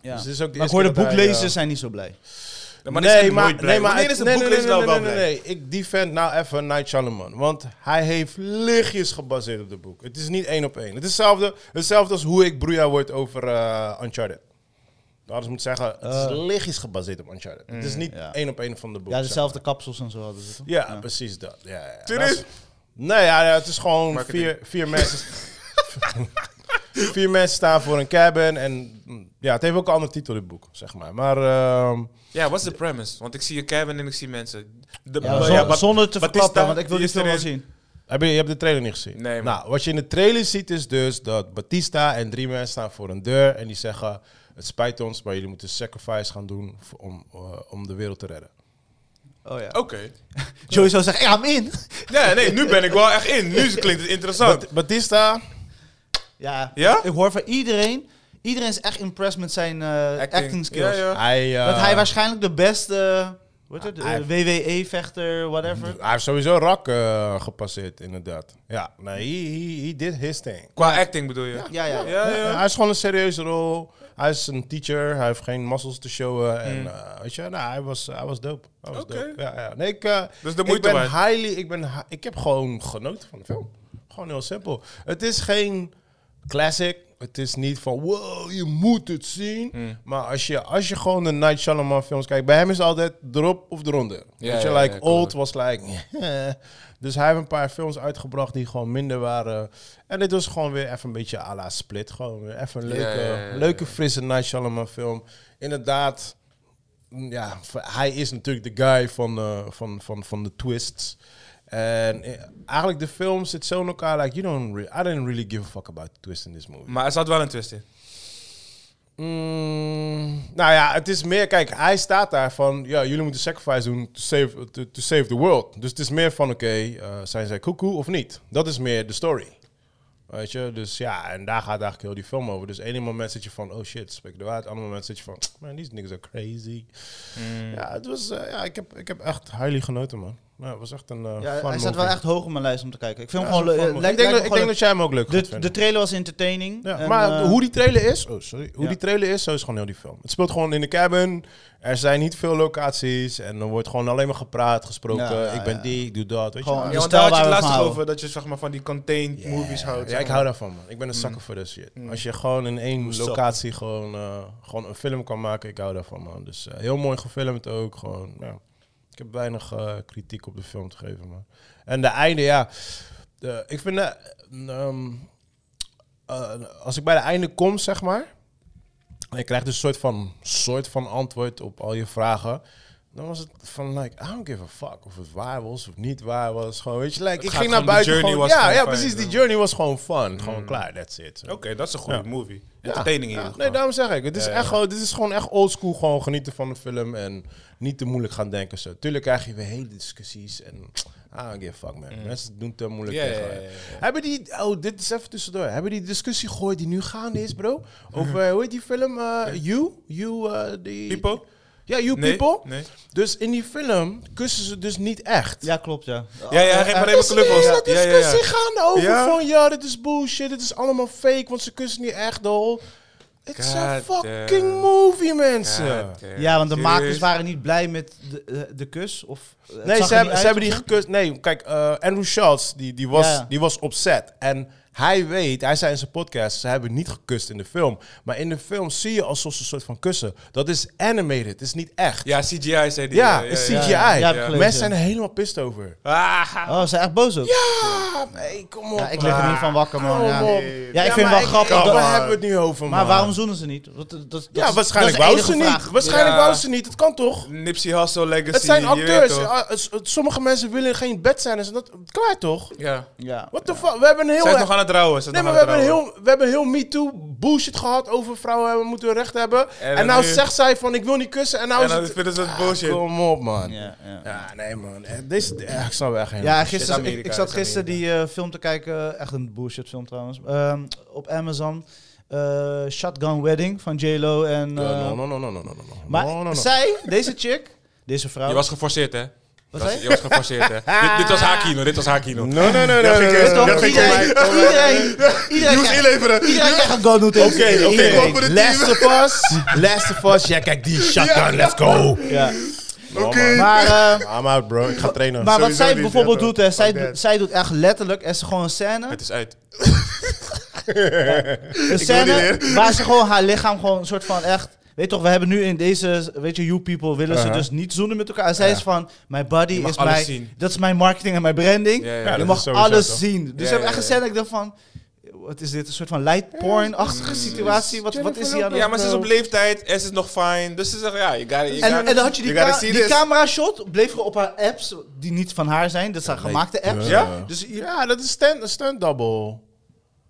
S2: Ja.
S1: Dus het is ook de
S2: Maar ik
S1: eerste
S2: hoor
S1: keer
S2: de
S1: dat hij,
S2: boeklezers
S1: eh,
S2: zijn niet zo blij.
S3: Ja, maar nee, maar, nee, maar
S1: het-
S3: is het
S1: nee,
S3: boek
S1: nee, nee,
S3: wel
S1: nee,
S3: wel
S1: nee,
S3: blij.
S1: nee, nee. Ik defend nou even Night Shyamalan. Want hij heeft lichtjes gebaseerd op de boek. Het is niet één op één. Het is hetzelfde, hetzelfde als hoe ik broeia word over eh, Uncharted. Dat moet zeggen, het is
S3: Ah.
S1: lichtjes gebaseerd op Uncharted. het
S3: Mm,
S1: is niet
S2: ja.
S1: één op één van de boek.
S2: Ja,
S1: zeg maar.
S2: dezelfde kapsels en zo hadden ze, toch?
S1: Ja, precies dat. Ja, ja, ja.
S3: Serieus?
S1: Dat is- Nee, ja, ja, het is gewoon
S3: Marketing.
S1: vier, vier mensen. Vier mensen staan voor een cabin. En mm, ja, het heeft ook een andere titel, dit boek, zeg maar. Maar ehm,
S3: Ja, wat is de premise? Want ik zie een cabin en ik zie mensen. De,
S2: Ja,
S3: maar
S2: zon-
S3: ja, wat-
S2: zonder te
S3: Batista,
S2: verklappen, want ik wil die
S3: die is
S2: film wel
S3: erin.
S2: zien.
S1: heb je, je hebt de trailer niet gezien?
S3: Nee, man.
S1: Nou, wat je in de trailer ziet is dus dat Batista en drie mensen staan voor een deur. En die zeggen, het spijt ons, maar jullie moeten sacrifice gaan doen voor- om, eh, om de wereld te redden.
S2: Oh ja.
S3: Oké.
S2: Joey zou zeggen, ja, I'm in.
S3: Ja, nee, nu ben ik wel echt in. Nu klinkt het interessant.
S1: Bat- Batista,
S2: Ja.
S3: Ja?
S2: Ik hoor van iedereen. Iedereen is echt impressed met zijn eh, acting. skills.
S3: Ja, ja.
S1: hij... eh,
S2: Dat hij waarschijnlijk de beste wat het,
S1: hij-
S2: WWE-vechter, whatever.
S1: hij heeft sowieso rak eh, gepasseerd, inderdaad. Ja, nee, he, he, he did his thing.
S3: Qua acting bedoel je?
S2: Ja, ja. ja.
S3: Ja,
S1: Ja,
S3: ja.
S1: Hij is gewoon een serieuze rol. Hij is een teacher. Hij heeft geen muscles te showen. En eh, weet je, nou, hij was, hij was dope. Hij was
S3: Hmm. Oké.
S1: dope. Ja, ja. Nee, ik, eh,
S3: Dus de moeite
S1: ik ben
S3: waard.
S1: highly, ik ben, hi- ik heb gewoon genoten van de film. Gewoon heel simpel. Het is geen classic. Het is niet van, wow, je moet het zien.
S3: Hmm.
S1: Maar als je, als je gewoon de Night Shyamalan films kijkt, bij hem is het altijd erop of eronder.
S3: Ja,
S1: Weet je,
S3: ja, ja,
S1: like
S3: klopt.
S1: Old was like... dus hij heeft een paar films uitgebracht die gewoon minder waren. En dit was gewoon weer even een beetje à la Split. Gewoon weer even een
S3: Ja,
S1: leuke,
S3: ja, ja, ja.
S1: leuke frisse Night Shyamalan film. Inderdaad, mm, ja, v- hij is natuurlijk de guy van, eh, van, van, van de twists. En eh, eigenlijk de film zit zo in elkaar, like, you don't re- I didn't really give a fuck about the twist in this movie.
S3: Maar er zat wel een twist in.
S1: Mm, nou ja, het is meer, kijk, hij staat daar van, ja, jullie moeten sacrifice doen to save, to, to save the world. Dus het is meer van, oké, eh, zijn zij koekoe of niet? Dat is meer de story. Weet je, dus ja, en daar gaat eigenlijk heel die film over. Dus ene moment zit je van, oh shit, spreek de waarheid. Andere moment zit je van, man, die niggas are crazy. Ja, het was, eh, ja, ik heb, ik heb echt highly genoten, man. Ja, het was echt een eh, fun
S2: hij staat wel
S1: movie.
S2: echt hoog op mijn lijst om te kijken. Ik
S1: Ja,
S2: vind
S1: het
S2: hem
S1: was
S2: gewoon
S1: een
S2: leuk.
S1: fun
S2: eh,
S1: movie.
S2: lijkt-
S1: Ik denk, dat,
S2: lijkt me
S1: ik denk dat
S2: gewoon
S1: jij hem ook leuk
S2: leuk.
S1: gaat
S2: de,
S1: vinden.
S2: de trailer was entertaining.
S1: Ja,
S2: en,
S1: maar
S2: eh,
S1: hoe die trailer is, oh, sorry, hoe
S2: ja.
S1: die trailer is, zo is gewoon heel die film. Het speelt gewoon in de cabin. Er zijn niet veel locaties en er wordt gewoon alleen maar gepraat, gesproken.
S2: Ja, ja,
S1: ik ben
S2: ja.
S1: die, ik doe dat, weet
S2: Gewoon-
S1: je.
S3: Ja,
S1: wel.
S2: Dus
S3: want
S2: daar
S3: daar had je het
S2: waar we van
S3: laatst nog
S2: houden.
S3: over dat je zeg maar, van die contained movies houdt.
S1: Ja, ik hou daarvan, man. Ik ben een
S2: Mm.
S1: zakker voor dat shit. Als je gewoon in één
S2: Sucker.
S1: locatie gewoon, eh, gewoon een film kan maken, ik hou daarvan, man. Dus eh, heel mooi gefilmd ook, gewoon, ja. Ik heb weinig eh, kritiek op de film te geven, man. En de einde, ja. de- ik vind, eh, ehm, eh, als ik bij de einde kom, zeg maar... En je krijgt dus een soort van, soort van antwoord op al je vragen. Dan was het van, like, I don't give a fuck of het waar was of niet waar was. Gewoon, weet je, like, ik
S3: gaat
S1: ging naar
S3: gewoon, de
S1: buiten.
S3: journey
S1: Gewoon,
S3: was
S1: ja,
S3: gewoon
S1: ja,
S3: fijn,
S1: precies. Die
S3: ja.
S1: journey was gewoon fun. Gewoon klaar, that's it.
S3: Oké, dat is een goede
S1: Ja.
S3: movie.
S1: Ja.
S3: Entertaining
S1: Ja,
S3: in ieder
S1: Nee,
S3: geval.
S1: daarom zeg ik. Het is echt gewoon, dit is gewoon echt oldschool. Gewoon genieten van de film en niet te moeilijk gaan denken. Zo. Tuurlijk krijg je weer hele discussies en... Ah, give a fuck man. Mensen doen te moeilijk
S3: Mm. Ja, ja,
S1: tegen.
S3: ja, ja, ja.
S1: Hebben die... Oh, dit is even tussendoor. Hebben die discussie gehoord die nu gaande is, bro? Over, hoe heet die film? Eh, you? You, eh, die...
S3: People?
S1: Ja, You
S3: Nee,
S1: People.
S3: nee.
S1: Dus in die film kussen ze dus niet echt.
S2: Ja, klopt, ja.
S3: Ja, ja, geef maar
S1: Er
S3: even
S1: is een
S3: knuffels.
S1: hele
S3: Ja, ja, ja.
S1: discussie gaande over
S3: Ja?
S1: van ja, dit is bullshit, dit is allemaal fake, want ze kussen niet echt, dol. It's a
S3: God
S1: fucking
S3: damn.
S1: movie, mensen.
S2: Ja, want de makers
S3: Serieus?
S2: waren niet blij met de, eh, de kus. Of, eh, het
S1: Nee,
S2: zag
S1: ze
S2: er
S1: hebben,
S2: niet
S1: ze
S2: uit
S1: hebben die
S2: of zo.
S1: gekust. Nee, kijk, eh, Andrew Schultz, die, die, was,
S2: Ja, ja.
S1: die was opzet. En hij weet, hij zei in zijn podcast, ze hebben niet gekust in de film. Maar in de film zie je alsof ze een soort van kussen. Dat is animated, het is niet echt. Ja,
S3: Ja, CGI zei die.
S1: het is CGI.
S2: ja. Ja, heb ik gelezen.
S1: Mensen zijn er helemaal pissed over.
S3: Ah,
S2: Oh, ze zijn echt boos ook. Ja,
S1: Ah, nee, kom op.
S2: ik lig er
S1: man.
S2: niet van wakker, man.
S1: Kom
S2: Ja,
S1: op.
S2: ja ik vind het wel
S1: maar
S2: grappig.
S1: ik-
S2: dat-
S1: Waar hebben we het nu over, man?
S2: Maar waarom zoenen ze niet? Dat, dat, dat
S1: Ja,
S2: is-
S1: waarschijnlijk
S2: dat is
S1: wou
S2: de
S1: ze
S2: enige
S1: niet.
S2: vraag.
S1: Waarschijnlijk
S3: Ja.
S1: wou ze niet. Het kan toch?
S3: Nipsey Hussle Legacy.
S1: Het zijn
S3: je weet
S1: acteurs.
S3: toch?
S1: Ah, het- het- Sommige mensen willen geen bed zijn. Is dat klaar toch?
S3: Ja.
S2: Ja.
S1: What the fuck? We hebben een heel.
S3: Zij is nog aan het trouwen.
S1: Nee, maar we hebben, een heel, we hebben heel MeToo bullshit gehad over vrouwen hebben- moeten hun recht hebben. En,
S3: En dan
S1: nou
S3: nu-
S1: zegt zij van ik wil niet kussen. En nou
S3: En
S1: is
S3: dan
S1: het... Ah,
S3: vinden ze het
S2: Ah,
S3: bullshit.
S1: Kom op, man. Ja,
S2: Ja, ja.
S1: nee, man. Eh, Deze, eh, ik snap er echt geen...
S2: Ja,
S3: Is
S2: gisteren,
S3: Amerika,
S2: ik, ik zat
S3: is
S2: gisteren die eh, film te kijken, echt een bullshit film trouwens, ehm, op Amazon. eh, Shotgun Wedding van J-Lo en...
S1: No,
S2: eh,
S1: no, no, no, no, no, no, no.
S2: Maar
S1: No, no, no.
S2: zij, deze chick, deze vrouw...
S3: Je was geforceerd, hè?
S2: Wat
S3: Dat-
S2: zei je?
S3: Je was geforceerd, hè? Dit- Dit was haar kino, dit was haar kino.
S1: No, no, no, no, no, no,
S2: Is
S1: no,
S2: toch
S1: no, no,
S2: iedereen,
S1: no, no, no.
S2: iedereen, iedereen, krijgt-
S3: inleveren.
S2: iedereen krijgt een go notice.
S1: Oké,
S2: Iedereen.
S1: oké. Last of Us. Last of Us. Ja, kijk, die shotgun. Let's go.
S2: Ja.
S1: Oké.
S2: Maar, eh,
S1: I'm out, bro. Ik ga trainen.
S2: maar wat
S3: Sowieso
S2: zij
S3: niet,
S2: bijvoorbeeld
S3: ja,
S2: doet, hè, zij,
S3: Fuck that.
S2: doet- zij doet echt letterlijk, er is gewoon een scène...
S3: Het is uit.
S2: Een
S3: niet
S2: scène waar ze gewoon haar lichaam gewoon een soort van echt... Weet toch, we hebben nu in deze, weet je, you people willen
S1: Uh-huh.
S2: ze dus niet zoenen met elkaar. En zij is van, mijn body
S3: mag
S2: is
S3: alles
S2: mijn,
S3: zien.
S2: dat is mijn marketing en mijn branding.
S3: Ja, ja, ja,
S1: dat
S2: je
S1: is
S2: mag
S1: sowieso
S2: alles
S1: zo.
S2: zien. Dus
S3: Ja,
S2: ze hebben echt
S3: ja,
S2: een
S3: ja.
S2: scène, dat ik dacht van, Wat is dit? Een soort van
S3: mm,
S2: lightporn-achtige situatie? Wat, wat is hier aan de
S3: Ja, maar ze is op leeftijd en ze is nog fijn. Dus ze zegt, ja, je gotta, you
S2: En,
S3: gotta-
S2: en dan had je die,
S3: you gotta
S2: ka-
S3: see
S2: die
S3: this.
S2: camera-shot, bleef gewoon op haar apps, die niet van haar zijn. Dat zijn gemaakte apps.
S1: eh,
S3: Ja?
S2: Dus, je-
S1: Ja, Oh, dat is stunt, een stunt double.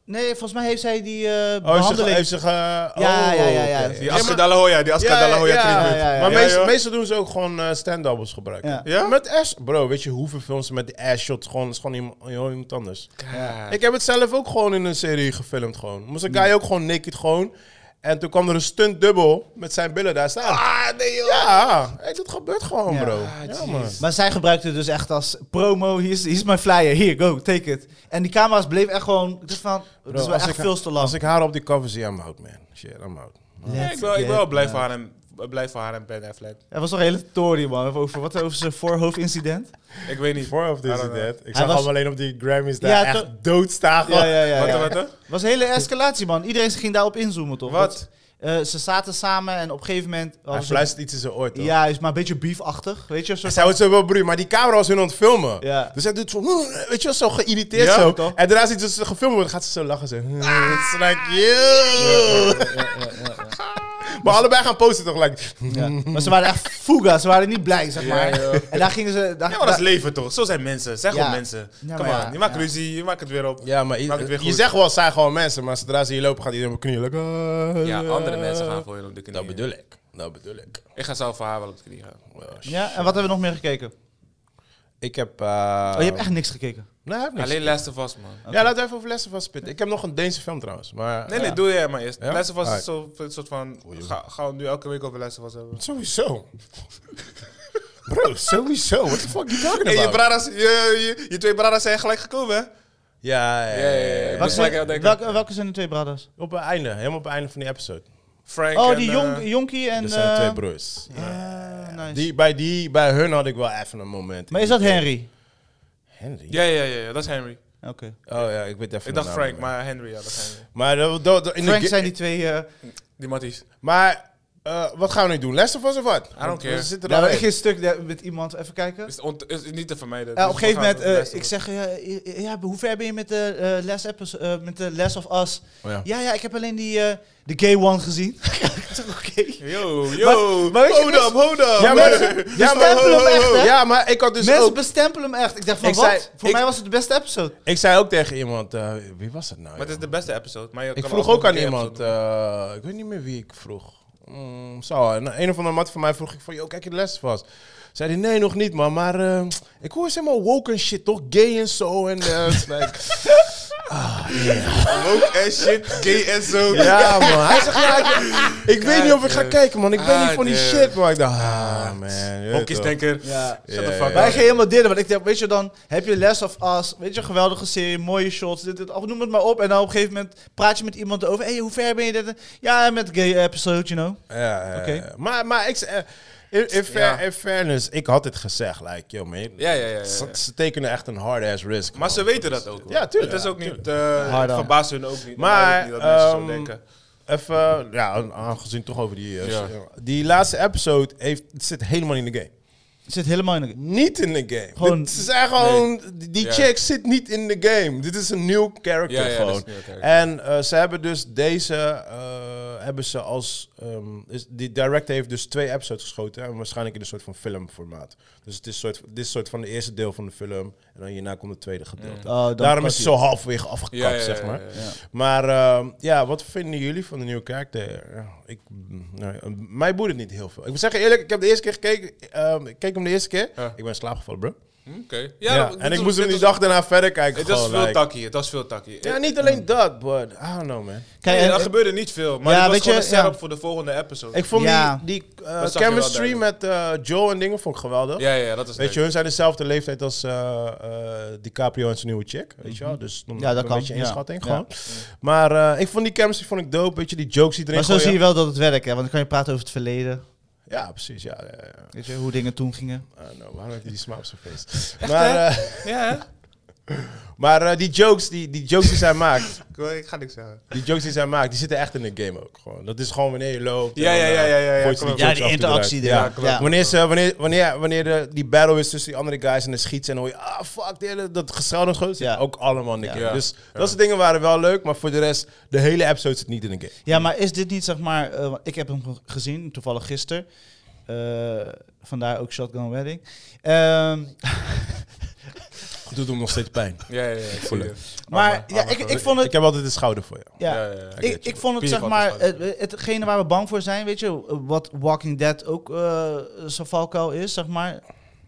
S2: nee, volgens mij heeft zij die eh
S1: Oh, ze
S2: behandeling.
S1: heeft zich... Ja,
S2: ja,
S1: Oh,
S2: ja, ja, ja.
S3: Die Aska Dalahoya, die Aska Dalahoya
S1: ja,
S3: treatment.
S2: ja, ja.
S1: Maar
S3: Ja,
S1: meestal,
S3: joh.
S1: meestal doen ze ook gewoon eh stand-doubles gebruiken.
S2: Ja.
S3: Ja?
S1: Met ass... Bro, weet je hoeveel films ze met die ass shot gewoon... is gewoon iemand, heel iemand anders.
S3: Ja.
S1: Ik heb het zelf ook gewoon in een serie gefilmd gewoon. Moest een guy ook gewoon naked gewoon. En toen kwam er een stunt dubbel met zijn billen daar staan. Ah, nee joh. Ja, hey, dat gebeurt gewoon
S2: Ja.
S1: bro.
S3: Ah,
S1: ja,
S3: jeez.
S1: man.
S2: Maar zij gebruikte het dus echt als promo. Hier is, hier is mijn flyer. Hier, go, take it. En die camera's bleef echt gewoon... Dus van, het is wel
S1: als
S2: echt
S1: ik-
S2: veel te lang.
S1: Als ik haar op die cover zie, I'm out man. Shit, I'm out.
S3: Ja, ik ben, ik ben wel blij voor haar en, blij voor haar en Ben Affleck.
S2: Er was nog een hele story, man. Over, wat over zijn voorhoofdincident.
S3: Ik weet niet.
S1: Voor of this
S3: I
S1: and
S3: don't know.
S1: that. Ik zag
S2: was-
S1: hem alleen op die Grammys daar
S2: Ja,
S1: echt
S2: toch?
S1: doodstaan.
S2: Ja, ja, ja.
S3: Wat,
S2: ja.
S3: wat, wat?
S2: was een hele escalatie, man. Iedereen ging daarop inzoomen, toch?
S3: Wat?
S2: Dat, eh, ze zaten samen en op een gegeven moment...
S1: Hij
S2: hadden ze-
S1: fluistert iets in zijn oor toch?
S2: Ja, is maar een beetje beefachtig. Weet je, een soort
S1: Zij wordt zo wel broer, maar die camera was hun aan het filmen.
S2: Ja.
S1: Dus hij doet zo, weet je wel, zo geïrriteerd
S3: Ja,
S1: zo.
S2: toch?
S1: En daarna ziet ze ze gefilmd worden, gaat ze zo lachen. Zo. hmm, It's like, yo. Maar allebei gaan posten toch, like,
S2: Ja. Maar ze waren echt fuga, ze waren niet blij, zeg maar.
S3: Ja, ja.
S2: En daar gingen ze... Daar,
S3: Ja, maar dat is leven toch? Zo zijn mensen. Zeg
S2: Ja.
S3: gewoon mensen.
S2: Ja,
S3: Kom
S2: maar
S3: aan,
S2: ja,
S3: je maakt
S2: ja.
S3: ruzie, je maakt het weer op.
S1: Ja, maar i-
S3: Maak het weer
S1: je
S3: goed.
S1: zegt wel, het zijn gewoon mensen, maar zodra ze hier lopen, gaat iedereen op de knieën. like, ah, ah.
S3: voor je op de knieën.
S1: Dat bedoel ik, dat bedoel ik.
S3: Ik ga zelf voor haar wel op de knieën gaan.
S1: Oh, shit.
S2: ja, en wat hebben we nog meer gekeken?
S1: Ik heb... eh,
S2: Oh, je hebt echt niks gekeken.
S1: Nee, ik heb niks.
S3: Alleen Last of Us, man.
S1: Ja, laten we even over Lessen van spitten. Ik heb nog een Deense film trouwens, maar...
S3: Nee,
S1: Ja.
S3: nee, doe jij maar eerst.
S1: Ja?
S3: Last of Us
S1: Alright.
S3: is zo- een soort van... Ga, gaan we nu elke week over Last of Us hebben?
S1: Sowieso. Bro, sowieso. What the fuck are you talking
S3: Hey, je,
S1: about?
S3: bradas, je, je, je twee bradas zijn gelijk gekomen, hè?
S1: Ja, ja, ja. ja, ja.
S3: Ja,
S2: Wat
S3: ja,
S2: zijn-
S3: ja, denk ik.
S2: welke, welke zijn de twee brothers?
S1: Op het einde, helemaal op het einde van die episode.
S3: Frank
S2: Oh,
S3: en,
S2: die
S3: eh,
S2: jonk, Jonkie en...
S1: Er zijn twee
S2: eh,
S1: broers.
S2: ah, nice.
S1: Die, bij, die, bij hun had ik wel even een moment.
S2: Maar is dat Henry?
S1: Henry?
S3: Ja, ja, ja, ja, dat is Henry.
S2: Oké.
S1: Oh ja, ik weet even
S3: Ik dacht
S1: de naam
S3: Frank,
S1: niet meer.
S3: maar Henry, ja, dat is Henry.
S1: Maar, dat, dat, dat- in de
S2: Frank
S1: ge-
S2: zijn die twee... eh,
S3: Die Matties.
S1: maar eh, wat gaan we nu doen? Les of wat? I
S3: don't care.
S1: We zitten er
S2: nou,
S1: al
S2: ik
S1: in.
S2: ging een stuk daar met iemand, even kijken.
S3: Is, ont- is niet te vermijden.
S2: Eh,
S3: Dus
S2: op een
S3: we
S2: gegeven moment,
S3: gaan over
S2: eh,
S3: Last of
S2: ik
S3: Us.
S2: zeg, eh, ja, ja, hoe ver ben je met de, eh, last episode, eh, met de Last of Us?
S1: Oh, ja.
S2: Ja, ja, ik heb alleen die eh, de gay one gezien. ik zeg, oké.
S3: Yo, yo,
S2: maar weet je,
S3: hold
S2: mensen-
S3: up, hold up.
S1: Oh, Ja, maar, ja, maar,
S2: stempelen hem echt, hè?
S1: ja, maar ik had dus
S2: Mensen
S1: ook...
S2: bestempelen hem echt. Ik dacht van,
S1: Ik
S2: wat?
S1: zei-
S2: Voor
S1: ik-
S2: mij was het de beste episode.
S1: Ik zei ook tegen iemand, eh, wie was het nou?
S3: Maar het
S1: joh?
S3: is de beste episode. Maar je
S1: Ik
S3: kan
S1: vroeg
S3: altijd
S1: ook aan
S3: een keer
S1: iemand,
S3: episode
S1: eh, ik weet niet meer wie ik vroeg. Mm, zo, en een of andere mat van mij vroeg ik van, joh, kijk je de les vast. Zei hij, nee, nog niet, man. Maar eh, ik hoor ze helemaal woke en shit, toch? Gay en zo. En, eh, het is like, ah,
S3: doen. Woke as shit, gay as zo.
S1: ja, man. Hij zegt, ja, ik, ik weet niet of ik ga
S3: Goddamn.
S1: kijken, man. Ik ben
S3: Ah,
S1: niet van die
S3: Goddamn.
S1: shit. Maar ik dacht, ah, man. je weet toch.
S3: Hokjesdenker.
S2: Ja.
S3: Shut
S1: Ja,
S3: the fuck
S1: ja,
S2: Wij
S3: up.
S2: gingen helemaal dit, want ik dacht, weet je, dan heb je Last of Us, weet je, geweldige serie, mooie shots, dit, dit, of noem het maar op. En dan op een gegeven moment praat je met iemand over, hé, hey, hoe ver ben je dit? Ja, met gay episode, you know.
S1: Ja, ja,
S2: Oké.
S1: ja. Maar, maar ik, eh, in, in, fair-
S3: Ja.
S1: in fairness, ik had het gezegd. Like, yo, man.
S3: Ja, ja, ja, ja.
S1: Ze, ze tekenen echt een hard-ass risk.
S3: Maar
S1: man.
S3: ze weten dat ook. hoor.
S1: Ja, tuurlijk.
S3: Het is ook niet, eh
S2: Hard
S3: het
S2: aan.
S3: verbaast hun ook niet.
S1: Maar,
S3: niet dat mensen zo
S1: ehm,
S3: denken.
S1: Even, eh, ja, aangezien toch over die... eh,
S3: Ja.
S1: Die laatste episode heeft, zit helemaal niet in de game.
S2: Zit helemaal in de
S1: Niet in de game.
S2: Gewoon-
S1: Dit zijn gewoon, die- die
S3: Ja.
S1: chick zit niet in de game. Dit is een nieuw character
S3: Ja, ja,
S1: gewoon.
S3: dat is een nieuw character.
S1: En eh, ze hebben dus deze, eh, hebben ze als, ehm, is, die director heeft dus twee episodes geschoten. En waarschijnlijk in een soort van filmformaat. Dus het is soort, dit is soort van de eerste deel van de film. En dan hierna komt het tweede gedeelte.
S2: Oh, dan
S1: Daarom
S2: cut
S1: is het
S2: hij
S1: zo halverwege afgekapt, zeg maar. Maar ehm, ja, wat vinden jullie van de nieuwe karakter? Ja, Ik, mm, nou ja, mij boeit het niet heel veel. Ik moet zeggen eerlijk, ik heb de eerste keer gekeken. ehm, ik keek hem de eerste keer.
S3: Ja.
S1: Ik ben in slaap gevallen, bro.
S3: Hm, Oké.
S1: Ja,
S3: dit
S1: en ik
S3: was-
S1: moest hem
S3: dit
S1: die
S3: was-
S1: dag daarna verder kijken.
S3: Het
S1: gewoon,
S3: was veel
S1: like.
S3: takkie. Het was veel takkie.
S1: Ja, niet alleen dat, but I don't know, man.
S2: Kijk,
S3: Nee,
S2: en-
S3: er gebeurde niet veel.
S2: Ja,
S3: Maar het was
S2: weet
S3: gewoon
S2: je,
S3: een setup
S2: ja.
S3: voor de volgende episode.
S1: Ik vond
S2: Ja.
S1: die, die eh,
S3: Dat zag je wel
S1: chemistry
S3: duidelijk.
S1: met eh, Joe en dingen vond ik geweldig.
S3: ja, ja, dat is
S1: Weet je, hun zijn dezelfde leeftijd als eh, eh, DiCaprio en zijn nieuwe chick, weet je wel? Dus dan
S2: Ja, dat
S1: een
S2: kan,
S1: beetje
S2: ja.
S1: inschatting
S2: Ja.
S1: gewoon. Maar eh, ik vond die chemistry vond ik dope, weet je, die jokes die erin
S2: Maar zo
S1: gooien.
S2: zie je wel dat het werkt, hè? Want dan kan je praten over het verleden.
S1: Ja, precies, ja. ja, ja.
S2: Weet je, hoe dingen toen gingen.
S1: Ah, nou, waarom heeft hij die smaak op zijn face? maar, eh,
S3: Ja, hè?
S1: Maar eh, die jokes die, die, jokes die zij maakt,
S3: Ik, wil- ik ga niks zeggen.
S1: die jokes die zij maakt, die zitten echt in de game ook. Gewoon. Dat is gewoon wanneer je loopt.
S3: Ja,
S1: en
S3: ja,
S1: dan,
S3: ja,
S1: eh,
S3: ja, ja, ja,
S1: gooit ze
S3: klopt.
S1: jokes
S2: Ja, die
S1: af en toe
S2: interactie
S1: eruit.
S2: er.
S1: Ja.
S2: Ja, klopt.
S1: Wanneer, ze, wanneer, wanneer, wanneer de, die battle is tussen die andere guys en de schiet en dan hoor je, ah fuck, die hele- dat gescheld en zo, zit
S2: Ja.
S1: ook allemaal in de game.
S3: Ja.
S1: Dus dat soort dingen waren wel leuk, maar voor de rest, de hele episode zit niet in de game.
S2: Ja, maar is dit niet, zeg maar... eh, want ik heb hem ge- gezien, toevallig gisteren. Eh, vandaar ook Shotgun Wedding. Ehm,
S1: Het doet hem nog steeds pijn.
S3: Ja, ja, ja.
S1: Voelen.
S3: zie je.
S2: maar
S3: Arme-
S2: ja,
S3: arme
S2: ik, ik
S3: gozer.
S2: vond
S1: Ik
S2: het...
S1: heb altijd de schouder voor jou.
S2: Ja,
S3: ja, ja.
S1: weet
S2: ik,
S1: je.
S2: ik vond het, zeg
S3: Pierre
S2: maar,
S3: valt dus
S2: het, hetgene waar we bang voor zijn, weet je, wat Walking Dead ook eh zijn valkuil is, zeg maar,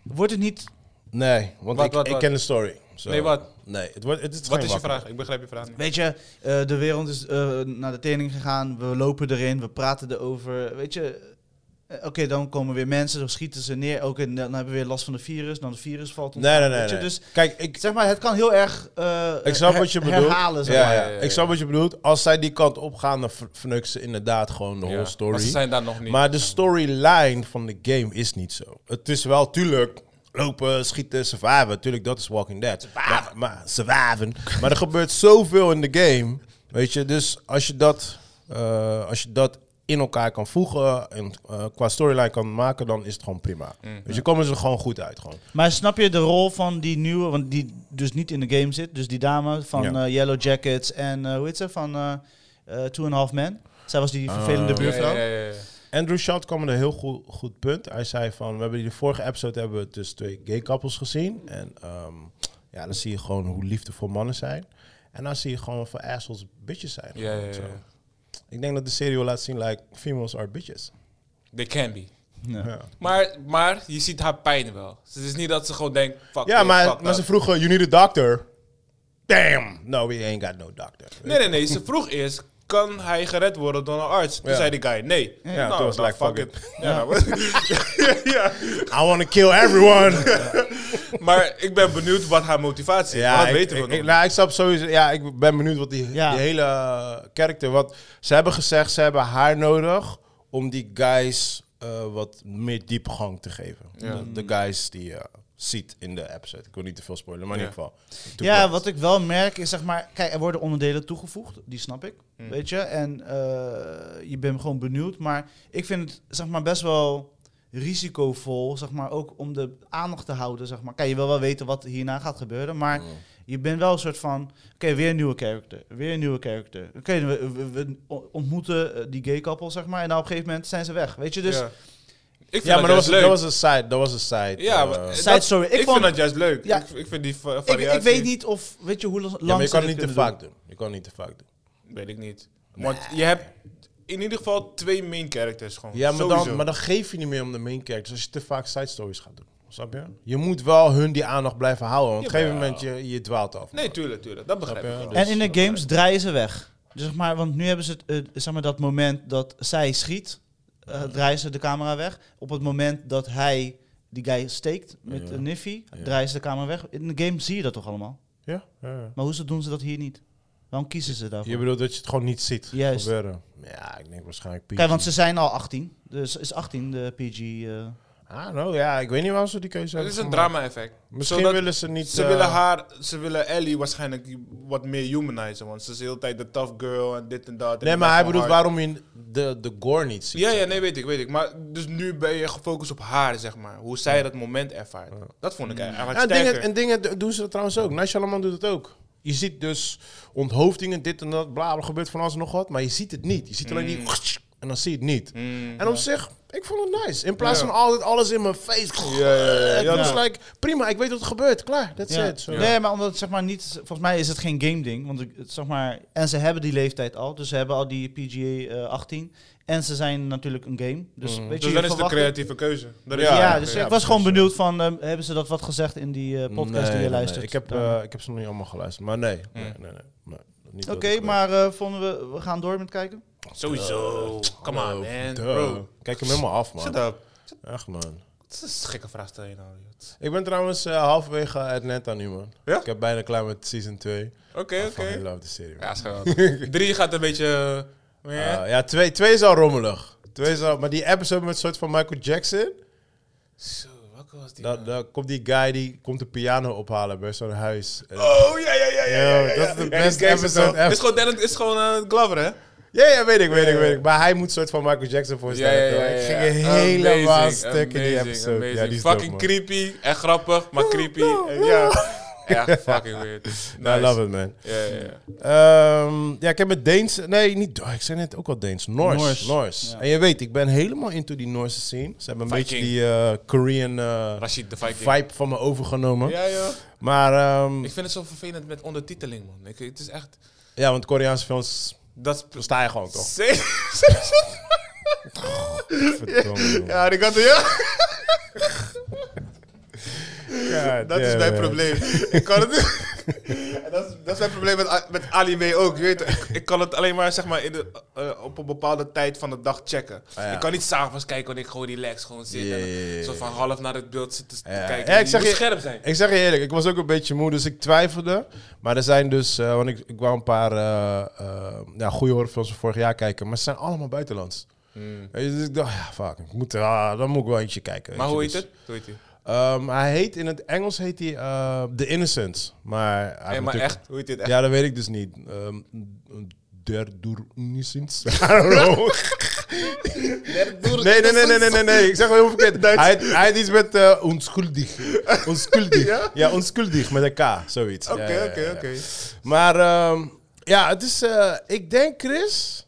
S2: wordt het niet...
S1: Nee, want
S3: Wat,
S1: ik,
S3: wat,
S1: ik
S3: wat?
S1: ken de story. Zo.
S3: Nee, wat?
S1: Nee, het, wordt, het is
S3: Wat
S1: geen
S3: is je
S1: wakker.
S3: vraag? Ik begrijp je vraag niet.
S2: Weet je, eh, de wereld is eh, naar de tering gegaan, we lopen erin, we praten erover, weet je... eh, Oké, dan komen weer mensen, dan schieten ze neer. Oké, dan hebben we weer last van de virus. Dan het virus valt ons
S1: Nee, nee,
S2: aan,
S1: nee.
S2: weet je,
S1: nee.
S2: Dus
S1: Kijk, ik,
S2: Zeg maar, het kan heel erg eh,
S1: ik snap
S2: her-
S1: wat je bedoelt.
S2: herhalen. Zeg
S1: ja,
S2: maar.
S1: ja,
S3: Ja, ja, ja.
S1: Ik snap wat je bedoelt. Als zij die kant op gaan, dan ver- verneuken ze inderdaad gewoon de
S3: Ja.
S1: whole story.
S3: Maar ze zijn daar nog niet.
S1: Maar de storyline van de game is niet zo. Het is wel, tuurlijk, lopen, schieten, surviven. Tuurlijk, dat is Walking Dead. Maar, maar, surviven. maar er gebeurt zoveel in de game. Weet je, dus als je dat, eh, als je dat in elkaar kan voegen en eh, qua storyline kan maken, dan is het gewoon prima.
S3: Mm.
S1: Dus je komen ze er gewoon goed uit. Gewoon.
S2: Maar snap je de rol van die nieuwe, want die dus niet in de game zit, dus die dame van
S1: Ja.
S2: eh, Yellow Jackets en eh, hoe heet ze, van eh eh, Two and a Half Men. Zij was die vervelende
S1: Ah.
S3: Ja,
S2: buurvrouw.
S3: ja, ja, ja, ja.
S1: Andrew Schott kwam met een heel goed, goed punt. Hij zei van, we hebben in de vorige episode hebben we dus twee gay couples gezien. En ehm, ja, dan zie je gewoon hoe liefdevol mannen zijn. En dan zie je gewoon van assholes bitches zijn.
S3: Ja, ja, ja,
S1: Zo.
S3: ja.
S1: Ik denk dat de serie wil laten zien, like, females are bitches.
S3: They can be.
S2: Ja.
S1: Ja,
S3: Maar, maar je ziet haar pijn wel. Dus het is niet dat ze gewoon denkt, fuck
S1: ja
S3: dit,
S1: maar,
S3: fuck
S1: maar
S3: dat.
S1: ze vroegen, you need a doctor? Damn! No, we ain't got no doctor.
S3: Nee, nee, nee. Ze vroeg eerst, kan hij gered worden door een arts? Toen
S1: Ja.
S3: zei die guy, nee.
S1: Ja, toen was
S3: dan
S1: like, fuck
S3: Ja, nou, ja.
S1: I want to kill everyone!
S3: Maar ik ben benieuwd wat haar motivatie is.
S1: ja, ik,
S3: want dat weten we
S1: ik-
S3: nog.
S1: ik- nou, ik snap sowieso. Ja, ik ben benieuwd wat die,
S2: Ja.
S1: die hele karakter. Want ze hebben gezegd, ze hebben haar nodig om die guys eh, wat meer diepgang te geven. De, de guys die je ziet in de episode. Ik wil niet te veel spoilen, maar in
S3: Ja.
S1: ieder geval.
S2: Ja, wat ik wel merk is, zeg maar, kijk, er worden onderdelen toegevoegd, die snap ik,
S1: Hmm.
S2: weet je. En eh, je bent gewoon benieuwd, maar ik vind het, zeg maar, best wel risicovol, zeg maar, ook om de aandacht te houden, zeg maar. Kijk, je wil wel weten wat hierna gaat gebeuren, maar
S1: Hmm.
S2: je bent wel een soort van, oké, weer een nieuwe character, weer een nieuwe character. Oké, we, we- we ontmoeten eh, die gay couple, zeg maar, en dan op een gegeven moment zijn ze weg, weet je. Dus
S3: ja. Ik vind
S1: Ja, maar dat
S3: juist
S1: was,
S3: leuk.
S1: dat was een side. Dat was een side.
S3: ja,
S1: eh,
S3: maar, eh,
S1: ja,
S2: Side
S3: dat-
S2: story. Ik
S3: Ik,
S2: vond-
S3: vind dat juist leuk.
S2: Ja.
S3: Ik, ik vind die va-
S2: ik,
S3: variatie...
S2: ik weet niet of, weet je, hoe lang
S1: maar je
S2: ze
S1: kan
S2: dit
S1: niet te
S2: kunnen doen.
S1: vaak doen. Je kan niet te vaak doen.
S3: Weet ik niet. Want je hebt in ieder geval twee main characters gewoon.
S1: Ja, maar
S3: Sowieso.
S1: dan, maar dan geef je niet meer om de main characters als je te vaak side stories gaat doen. Snap je? Je moet wel hun die aandacht blijven houden. Want op een gegeven
S3: Jawel.
S1: moment je, je dwaalt af.
S3: Nee, tuurlijk, tuurlijk. Dat begrijp
S1: Snap
S3: ik
S1: je?
S3: wel.
S1: Dus-
S2: En in de games draaien ze weg. Dus zeg maar, want nu hebben ze het, eh, zeg maar, dat moment dat zij schiet, eh, draaien ze de camera weg. Op het moment dat hij die guy steekt met
S1: Ja.
S2: een Niffy,
S1: Ja.
S2: draaien ze de camera weg. In de game zie je dat toch allemaal?
S1: Ja? ja, ja.
S2: Maar hoezo doen ze dat hier niet? Waarom kiezen ze daarvoor?
S1: Je bedoelt dat je het gewoon niet ziet
S2: Juist.
S1: gebeuren? Ja, ik denk waarschijnlijk PG.
S2: Kijk, want ze zijn al 18. Dus is 18 de PG. eh.
S1: Ah, nou ja, ik weet niet waarom ze die keuze
S3: Het
S1: hebben
S3: is een
S1: gemaakt.
S3: drama-effect.
S1: Misschien
S3: Zodat-
S1: willen ze niet...
S3: Ze
S1: eh,
S3: willen haar, ze willen Ellie waarschijnlijk wat meer humanizen, want ze is de hele tijd de tough girl en dit en dat. en
S1: Nee,
S3: ik
S1: maar
S3: ben
S1: hij
S3: van
S1: bedoelt
S3: haar-
S1: waarom je de, de gore niet ziet.
S3: Ja, ja, nee, weet ik, weet ik. Maar dus nu ben je gefocust op haar, zeg maar. Hoe zij dat moment ervaart. Dat vond ik
S2: Mm.
S3: eigenlijk
S1: Ja, en,
S3: sterker.
S1: dingen, en dingen do- doen ze dat trouwens ook. Nashalaman doet het ook. Je ziet dus onthoofdingen, dit en dat, bla, bla, gebeurt van alles en nog wat. Maar je ziet het niet. Je ziet alleen die... En dan zie je het niet.
S3: Mm,
S1: En op zich, ik vond het nice. In plaats
S3: Ja.
S1: van altijd alles in mijn face.
S3: ja, ja, ja.
S1: Het was
S3: Ja.
S1: like, prima, ik weet wat er gebeurt. Klaar, that's
S2: Ja.
S1: it. Zo.
S2: Nee, maar omdat het, zeg maar niet. Volgens mij is het geen game ding. Want ik, het, zeg maar, en ze hebben die leeftijd al. Dus ze hebben al die PGA eh, 18. En ze zijn natuurlijk een game. Dus,
S1: Mm.
S2: weet je, je
S3: dus dan is het een
S2: verwacht-
S3: creatieve keuze. Dat is
S2: Ja,
S1: Ja,
S2: dus
S1: ja,
S2: ik was gewoon
S1: precies.
S2: benieuwd van, ehm, hebben ze dat wat gezegd in die eh, podcast
S1: Nee,
S2: die je
S1: nee,
S2: luistert?
S1: nee. Ik heb,
S2: Dan-
S1: eh, ik heb ze nog niet allemaal geluisterd, maar nee. nee, nee, nee, nee. Niet
S2: Oké,
S1: dat ik, eh,
S2: maar eh, vonden we, we gaan door met kijken?
S3: Sowieso. Come on,
S1: hallo,
S3: Ah, man.
S1: Oh, duh.
S3: Bro.
S1: Kijk hem helemaal af,
S3: Shut
S1: man.
S3: up.
S1: Echt, man.
S3: Het is een gekke vraag stel je nou. joh.
S1: Ik ben trouwens eh, halverwege Atlanta nu, man.
S3: Ja?
S1: Ik heb bijna klaar met season 2.
S3: Oké,
S1: Ah, Fucking
S3: oké.
S1: love the serie, man.
S3: Ja, is geweldig. Drie gaat een beetje... eh,
S1: Ah, ja, twee, twee is al rommelig. Twee is al, maar die episode met een soort van Michael Jackson...
S3: Zo, welke fuck was die?
S1: Dan, dan komt die guy die komt de piano ophalen bij zo'n huis. En-
S3: Oh, ja, ja, ja, ja. ja,
S1: Yo,
S3: ja,
S1: dat
S3: ja.
S1: is de
S3: Ja, die
S1: best
S3: gangster
S1: episode
S3: zo.
S1: ever.
S3: Is gewoon, Dennis, is gewoon eh, Glover, hè?
S1: Ja, ja, weet ik, weet ik, weet ik. Maar hij moet een soort van Michael Jackson voorstellen. toch? Ik Dus ging
S3: ja.
S1: helemaal
S3: Amazing,
S1: stuk in die
S3: amazing,
S1: episode.
S3: amazing.
S1: Ja, die is
S3: fucking
S1: dope, man. Oh,
S3: creepy en grappig, maar creepy. en ja, echt fucking weird. Nice.
S1: I love it, man.
S3: Ja, ja, ja.
S1: Ehm, ja, ik heb met Deens... Nee, niet... oh, ik zei net ook al Deens. Noors.
S2: Noors.
S1: Noors.
S2: Ja.
S1: En je weet, ik ben helemaal into die Noorse scene. Ze hebben een
S3: Viking.
S1: beetje die eh, Korean eh,
S3: Rashid de Viking.
S1: vibe van me overgenomen.
S3: Ja, ja.
S1: Maar ehm,
S3: Ik vind het zo vervelend met ondertiteling, man. Ik, het is echt...
S1: ja, want Koreaanse films
S3: Dat is...
S1: sta je gewoon toch? Verdomme, joh.
S3: ja, ik had ja,
S1: God
S3: dat is
S1: damn,
S3: mijn
S1: man.
S3: probleem. Ik kan het En dat, is, dat is mijn probleem met, a- met anime ook. Je weet, toch, ik, ik kan het alleen maar, zeg maar in de, eh, op een bepaalde tijd van de dag checken.
S1: Ah, ja.
S3: Ik kan niet s'avonds kijken wanneer ik gewoon relaxed gewoon zit.
S1: Ja,
S3: en
S1: ja, ja, ja.
S3: Zo van half naar het beeld zitten te
S1: Ja.
S3: kijken.
S1: Ja,
S3: ik
S1: ik
S3: zeg
S1: zeg
S3: moet
S1: je-
S3: scherp zijn.
S1: Ik zeg je eerlijk, ik was ook een beetje moe, dus ik twijfelde. Maar er zijn dus, eh, want ik, ik wou een paar eh eh ja, goede horrorfilms van vorig jaar kijken, maar ze zijn allemaal buitenlands. Weet je, Dus ik dacht, ja, fuck, ik moet, ah, dan moet ik wel eentje kijken.
S3: Hmm.
S1: weet
S3: Maar hoe
S1: je,
S3: heet
S1: dus.
S3: het? Hoe heet die?
S1: Ehm, hij heet, in het Engels heet hij eh, The Innocent. Maar, hij heeft
S3: Hey, maar
S1: natuurlijk-
S3: echt, hoe heet dit echt?
S1: Ja, dat weet ik dus niet. Ehm der door Innocent. I don't know. Nee, nee, nee, nee, nee, nee, nee. Ik zeg wel heel verkeerd. Hij, hij had iets met eh onschuldig. Onschuldig. ja? onschuldig met een K, zoiets. Ja, ja,
S3: Oké,
S1: ja,
S3: oké,
S1: ja.
S3: oké.
S1: Maar ehm, ja, het is. eh, ik denk, Chris.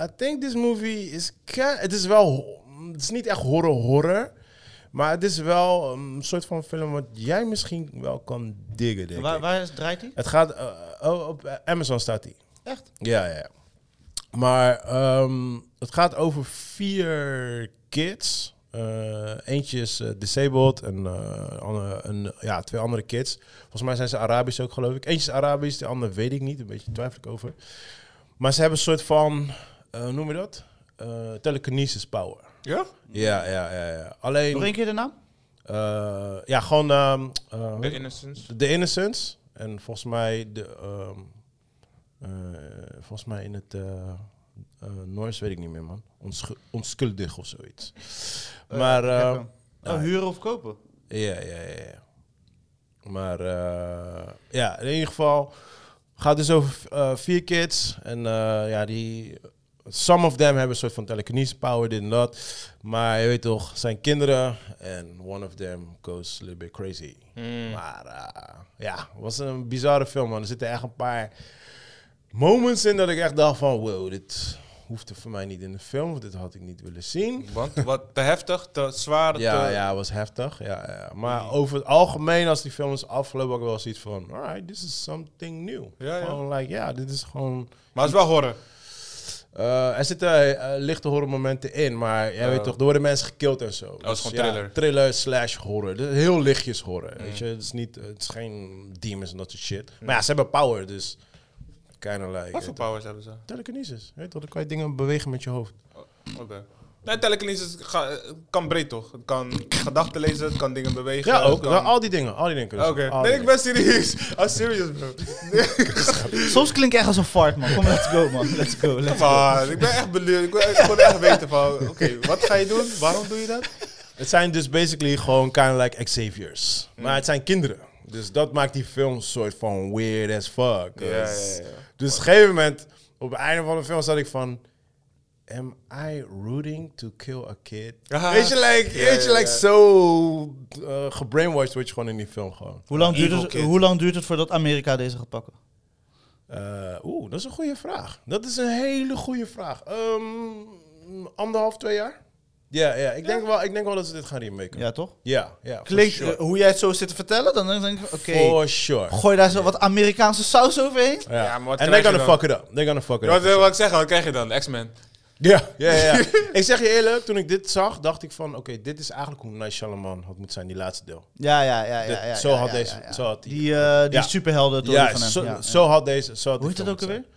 S1: I think this movie is. ki- Het is wel. ho- Het is niet echt horror-horror. Maar het is wel een soort van film wat jij misschien wel kan diggen, denk
S2: Waar,
S1: ik.
S2: waar is- draait hij?
S1: Het gaat. eh, oh, op eh, Amazon staat die.
S2: Echt?
S1: Ja, ja. ja. Maar ehm, het gaat over vier kids. Eh, eentje is eh, disabled en, eh, ander- en, ja, twee andere kids. Volgens mij zijn ze Arabisch ook, geloof ik. Eentje is Arabisch, de andere weet ik niet. Een beetje twijfel ik over. Maar ze hebben een soort van, eh, hoe noem je dat? Eh telekinesis power.
S3: Ja?
S1: Ja, ja, ja. ja.
S2: Nog één
S1: Alleen,
S2: keer de naam?
S1: eh, ja, gewoon ehm, eh,
S3: The Innocence.
S1: de Innocence. En volgens mij de. ehm, eh, volgens mij in het. eh eh, Noors weet ik niet meer, man. Onschu- onschuldig of zoiets. maar.
S2: heb
S1: eh,
S2: hem. Oh, huren of kopen?
S1: ja, ja, ja. ja. Maar. eh, ja, in ieder geval. Gaat dus over eh, vier kids. En eh, ja, die. Some of them hebben een soort van telekinesis power, dit en dat. Maar je weet toch, zijn kinderen. En one of them goes a little bit crazy. Maar eh, ja, het was een bizarre film, man. Er zitten echt een paar moments in dat ik echt dacht van... Wow, dit hoefde voor mij niet in de film. Of dit had ik niet willen zien.
S3: Want wat te heftig, te zwaar,
S1: Ja,
S3: te...
S1: ja, het was heftig. Ja, ja. Maar over het algemeen, als die film is afgelopen, ook wel zoiets van... Alright, this is something new.
S3: Ja, ja.
S1: Gewoon like, ja, dit is gewoon...
S3: Maar het is wel horror.
S1: Eh, er zitten eh, lichte horrormomenten in, maar jij weet toch, er worden mensen gekild en zo. Dat
S3: Oh, is gewoon thriller.
S1: Thriller slash horror. Dus heel lichtjes horror, weet je. Het is, niet, het is geen demons en dat soort shit. Maar ja, ze hebben power, dus... Kind of like...
S3: Wat voor
S1: eh,
S3: powers hebben ze?
S1: Telekinesis, weet je toch, dan kan je dingen bewegen met je hoofd.
S3: Oké. Nee, telekinesis ga- kan breed toch? Het kan gedachten lezen, het kan dingen bewegen.
S1: Ja,
S3: het
S1: ook.
S3: kan-
S1: Nou, al die dingen, al die dingen
S3: Oké.
S1: kunnen ze. Al die
S3: Nee, ik ben serieus. I'm serious, bro. Nee,
S2: Soms klink ik echt als een fart, man. Kom, let's go, man. Let's go. Let's
S3: Come on. Ik ben echt benieuwd. Ik wil echt- ik wil echt weten van, oké, wat ga je doen? Waarom doe je dat?
S1: Het zijn dus basically gewoon kind of like Xavier's.
S3: Hmm.
S1: Maar het zijn kinderen. Dus dat maakt die film een soort van weird as fuck.
S3: Ja, ja,
S1: Dus-
S3: ja.
S1: Dus op een gegeven moment, op het einde van de film, zat ik van... Am I rooting to kill a kid?
S3: Ja.
S1: Weet je, like,
S3: Ah, Ja,
S1: weet je,
S3: ja,
S1: like
S3: ja.
S1: zo eh, gebrainwashed word je gewoon in die film gewoon.
S2: Hoe lang,
S3: Evil
S2: duurt het,
S3: kid.
S2: hoe lang duurt het voordat Amerika deze gaat pakken?
S1: Eh, Oeh, dat is een goede vraag. Dat is een hele goede vraag. Ehm, anderhalf, twee jaar? Ja, ja, ik, denk wel, ik denk wel dat ze dit gaan remaken. Ja,
S2: Ja, toch?
S1: ja. for
S2: Klinkt,
S1: sure.
S2: eh, hoe jij het zo zit te vertellen, dan denk ik, oké,
S1: For sure.
S2: gooi daar zo wat Amerikaanse saus overheen.
S1: Ja,
S3: Ja, maar wat
S1: en
S3: krijg
S1: they're
S3: je
S1: gonna
S3: dan?
S1: fuck it up. They're gonna fuck it
S3: Wat
S1: up.
S3: wil ik zeggen? Wat krijg je dan? X-Men.
S1: Ja, ja, ja. ja. ik zeg je eerlijk, toen ik dit zag, dacht ik van... Oké, dit is eigenlijk hoe Night Shyamalan had moeten zijn, die laatste deel.
S2: Ja, ja, ja. ja,
S1: Dit-
S2: ja, ja
S1: zo
S2: ja,
S1: had
S2: ja,
S1: deze-
S2: ja, ja.
S1: zo had die-
S2: die. eh, die
S1: Ja.
S2: superhelden toren
S1: Ja,
S2: van hem.
S1: zo,
S2: ja.
S1: zo had deze... Zo had
S2: Hoe
S1: dit
S2: heet dat ook
S1: film moeten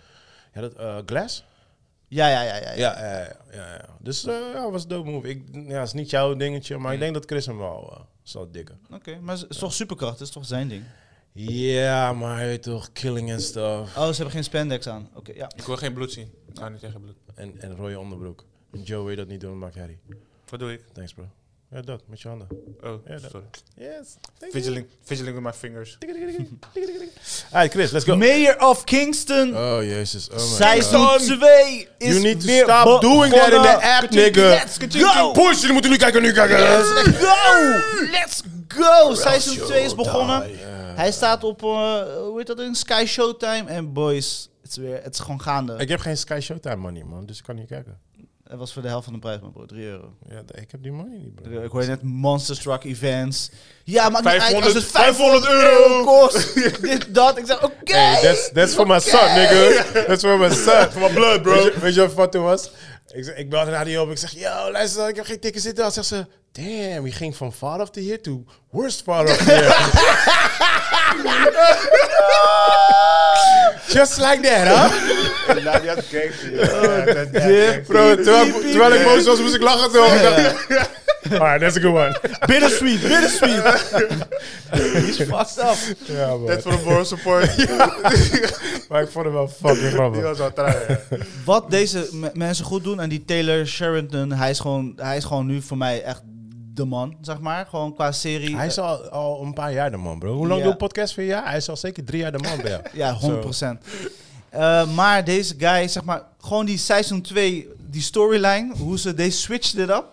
S1: zijn. Ja, dat, eh, Glass?
S2: Ja, ja, ja. ja, ja.
S1: Ja, ja, ja. ja, ja. Dus eh, ja, was een dope move. Ik, ja, is niet jouw dingetje, maar ik
S2: Mm.
S1: denk dat Chris hem wel eh, zal dikken.
S2: Oké, maar het is toch superkracht, het is toch zijn ding?
S1: Ja, maar je weet toch, killing en stuff.
S2: Oh, ze hebben geen spandex aan. Oké, ja.
S3: Ik wil geen bloed zien. Ik hou niet tegen bloed.
S1: En, en rode onderbroek. En Joe weet dat niet doen, maakt Harry.
S3: Wat doe ik?
S1: Thanks, bro. Ja, dat, met je handen.
S3: Oh,
S1: Ja, dat-
S3: sorry.
S1: Yes.
S3: Fidgeling, fidgeling with my fingers.
S1: Hey Chris, let's go.
S2: Mayor of Kingston,
S1: Oh jezus, oh my
S2: seizoen
S1: God.
S2: 2 is
S1: You need to
S2: weer
S1: stop doing that in
S2: begonnen.
S1: the app, nigga.
S3: Yes,
S2: go!
S1: Push, jullie moeten nu kijken, nu kijken.
S2: Let's go! Let's go! Seizoen 2 is begonnen. Hij staat op, eh, hoe heet dat, in Sky Showtime. En boys, het is, weer, het is gewoon gaande.
S1: Ik heb geen Sky Showtime money, man, dus ik kan niet kijken.
S2: Het was voor de helft van de prijs, maar bro, 3 euro.
S1: Ja, d- ik heb die money niet,
S2: Ik
S1: bro.
S2: hoor je net Monster Truck Events. Ja, maar niet uit als
S3: 500
S2: het 500 euro kost. Dit, dat. Ik zeg, oké.
S1: Hey, that's, that's for my son, nigga. That's for my son.
S3: For my blood, bro.
S1: Weet je, weet je wat fout toen was? Ik, zeg- ik belde naar die op. Ik zeg, yo, luister, ik heb geen tikken zitten. Dan zegt ze, damn, je ging van father of the year to worst father of the year. Just like that, huh?
S3: Laat Oh,
S2: Dit-
S1: Bro, terwijl, terwijl ik boos was, moest ik lachen. Toen Ik dacht, Alright, that's a good one.
S2: Bittersweet, bittersweet. Die is fucked up.
S1: Ja, man.
S3: Net voor een moral support.
S1: Maar ik vond het wel fucking
S3: Die
S1: grappig.
S3: was al traag.
S2: Wat deze me- mensen goed doen, en die Taylor Sheridan, hij is, gewoon, hij is gewoon nu voor mij echt de man, zeg maar. Gewoon qua serie.
S1: Hij is al, al een paar jaar de man, bro. Hoe lang
S2: Ja.
S1: doe je podcast voor jaar? Hij is al zeker drie jaar de man bij jou.
S2: Ja, 100%.
S1: Zo.
S2: Eh, maar deze guy, zeg maar, gewoon die seizoen 2, die storyline, hoe ze, they switched it up.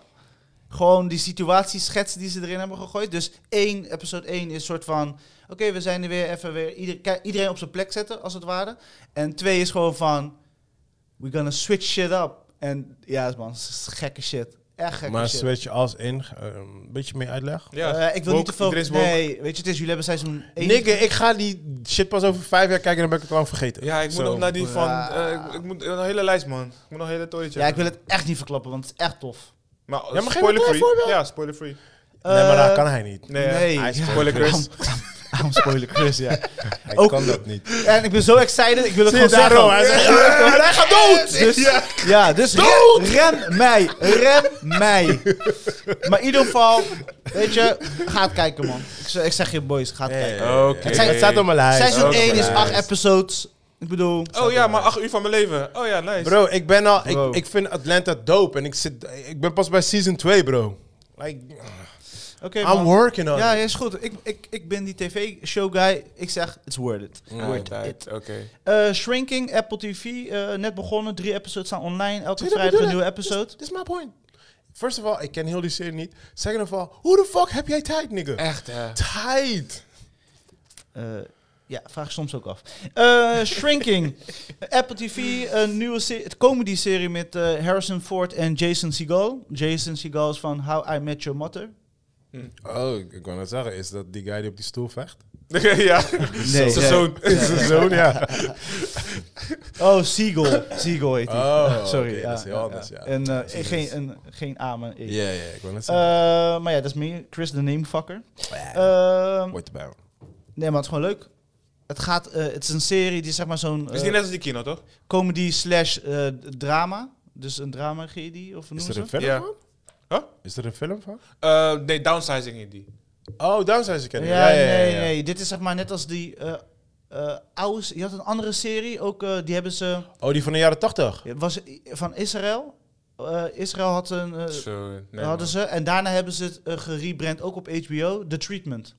S2: Gewoon die situatieschets die ze erin hebben gegooid. Dus één, episode 1 is soort van, oké, we zijn er weer even weer, ieder, ki- iedereen op zijn plek zetten, als het ware. En twee is gewoon van, we're gonna switch shit up. En ja, man, s- s- gekke shit. Echt gekke
S1: Maar
S2: shit.
S1: switch als in, eh, een beetje meer uitleg.
S2: Eh, ik wil niet te veel... Nee, weet je, het is, jullie hebben seizoen 1.
S1: Nigga, ik ga die shit pas over vijf jaar kijken en dan ben ik het lang vergeten.
S3: Ja, ik moet
S1: Zo.
S3: nog naar die van...
S2: Ja.
S3: eh, ik- ik moet een hele lijst, man. Ik moet nog een hele torentje.
S2: ja, ik wil het echt niet verklappen, want het is echt tof.
S3: Maar,
S1: maar geef
S3: spoiler
S1: me een
S3: free.
S1: voorbeeld.
S3: Ja, spoiler free.
S1: Nee, maar dat
S2: Eh,
S1: kan hij niet.
S3: Nee,
S2: Nee.
S3: hij is
S2: Ja.
S3: spoiler Chris.
S2: Daarom spoiler Chris, ja.
S1: Hij
S2: Ook-
S1: kan dat niet.
S2: En ik ben zo excited, ik wil het
S1: Zie je
S2: gewoon zeggen.
S1: daarom, hij zegt,
S2: hij gaat dood! Dus, ja. dus re- rem mij, rem mij. Maar in ieder geval, weet je, ga het kijken man. Ik, zeg- ik zeg je boys, ga het kijken.
S3: Oké.
S1: Het, zijn- het staat op mijn lijst.
S2: Seizoen
S1: Ook
S2: 1 is
S1: mijn
S2: 8
S1: lijst.
S2: episodes. Ik bedoel,
S3: Oh ja, maar acht uur van mijn leven. Oh ja, nice.
S1: Bro, ik ben al,
S2: Bro.
S1: ik, ik vind Atlanta dope en ik, zit, ik ben pas bij season 2, bro. Like,
S2: oké
S1: I'm
S2: man.
S1: working on
S2: Ja,
S1: it.
S2: ja, is goed. Ik, ik, ik ben die tv-show guy. Ik zeg, it's worth it. Worth
S3: Alright,
S2: it.
S3: Oké.
S2: Eh, Shrinking, Apple TV, eh, net begonnen. Drie episodes staan online. Elke
S1: Zie je, dat
S2: vrijdag een
S1: bedoel
S2: nieuwe
S1: ik.
S2: episode.
S1: This is my point. First of all, ik ken heel die serie niet. Second of all, hoe de fuck heb jij tijd, nigga?
S3: Echt, hè?
S1: Tijd!
S2: Eh, ja, vraag ik soms ook af. Eh, Shrinking. Apple TV, een nieuwe se- comedy serie met eh, Harrison Ford en Jason Segel. Jason Segel is van How I Met Your Mother.
S1: Oh, ik ik wou net zeggen, is dat die guy die op die stoel vecht?
S3: ja.
S2: Nee,
S3: Zijn zoon.
S1: Zijn zoon, ja.
S2: Oh, Segel. Segel heet hij.
S1: Oh,
S2: Sorry.
S1: oké, dat is heel anders, ja.
S2: En, eh, geen, een, geen A, maar een E.
S1: Ja, ja, ik wou net zeggen.
S2: Eh, maar ja, dat is meer Chris the Namefucker. Ehm,
S1: Wordt erbij.
S2: nee, maar het is gewoon leuk. Het, gaat, eh, het is een serie die zeg maar zo'n
S3: Is
S2: eh,
S3: niet net als die kino, toch?
S2: comedy slash eh, drama. Dus een drama-gedi of hoe
S1: Is
S2: noemen
S1: er
S2: ze?
S1: een film
S3: Ja.
S1: van?
S3: Huh?
S1: Is er een film van?
S3: Eh, nee, downsizing in die.
S1: Oh, Downsizing Academy.
S2: Ja, nee, nee. Dit is zeg maar net als die eh eh, oude... se- Je had een andere serie, ook eh, die hebben ze...
S1: Oh, die van de jaren tachtig.
S2: Het was i- van Israël. Eh, Israël had een... eh,
S3: Zo, nee.
S2: hadden ze, en daarna hebben ze het eh, gerebrand, ook op HBO, The Treatment.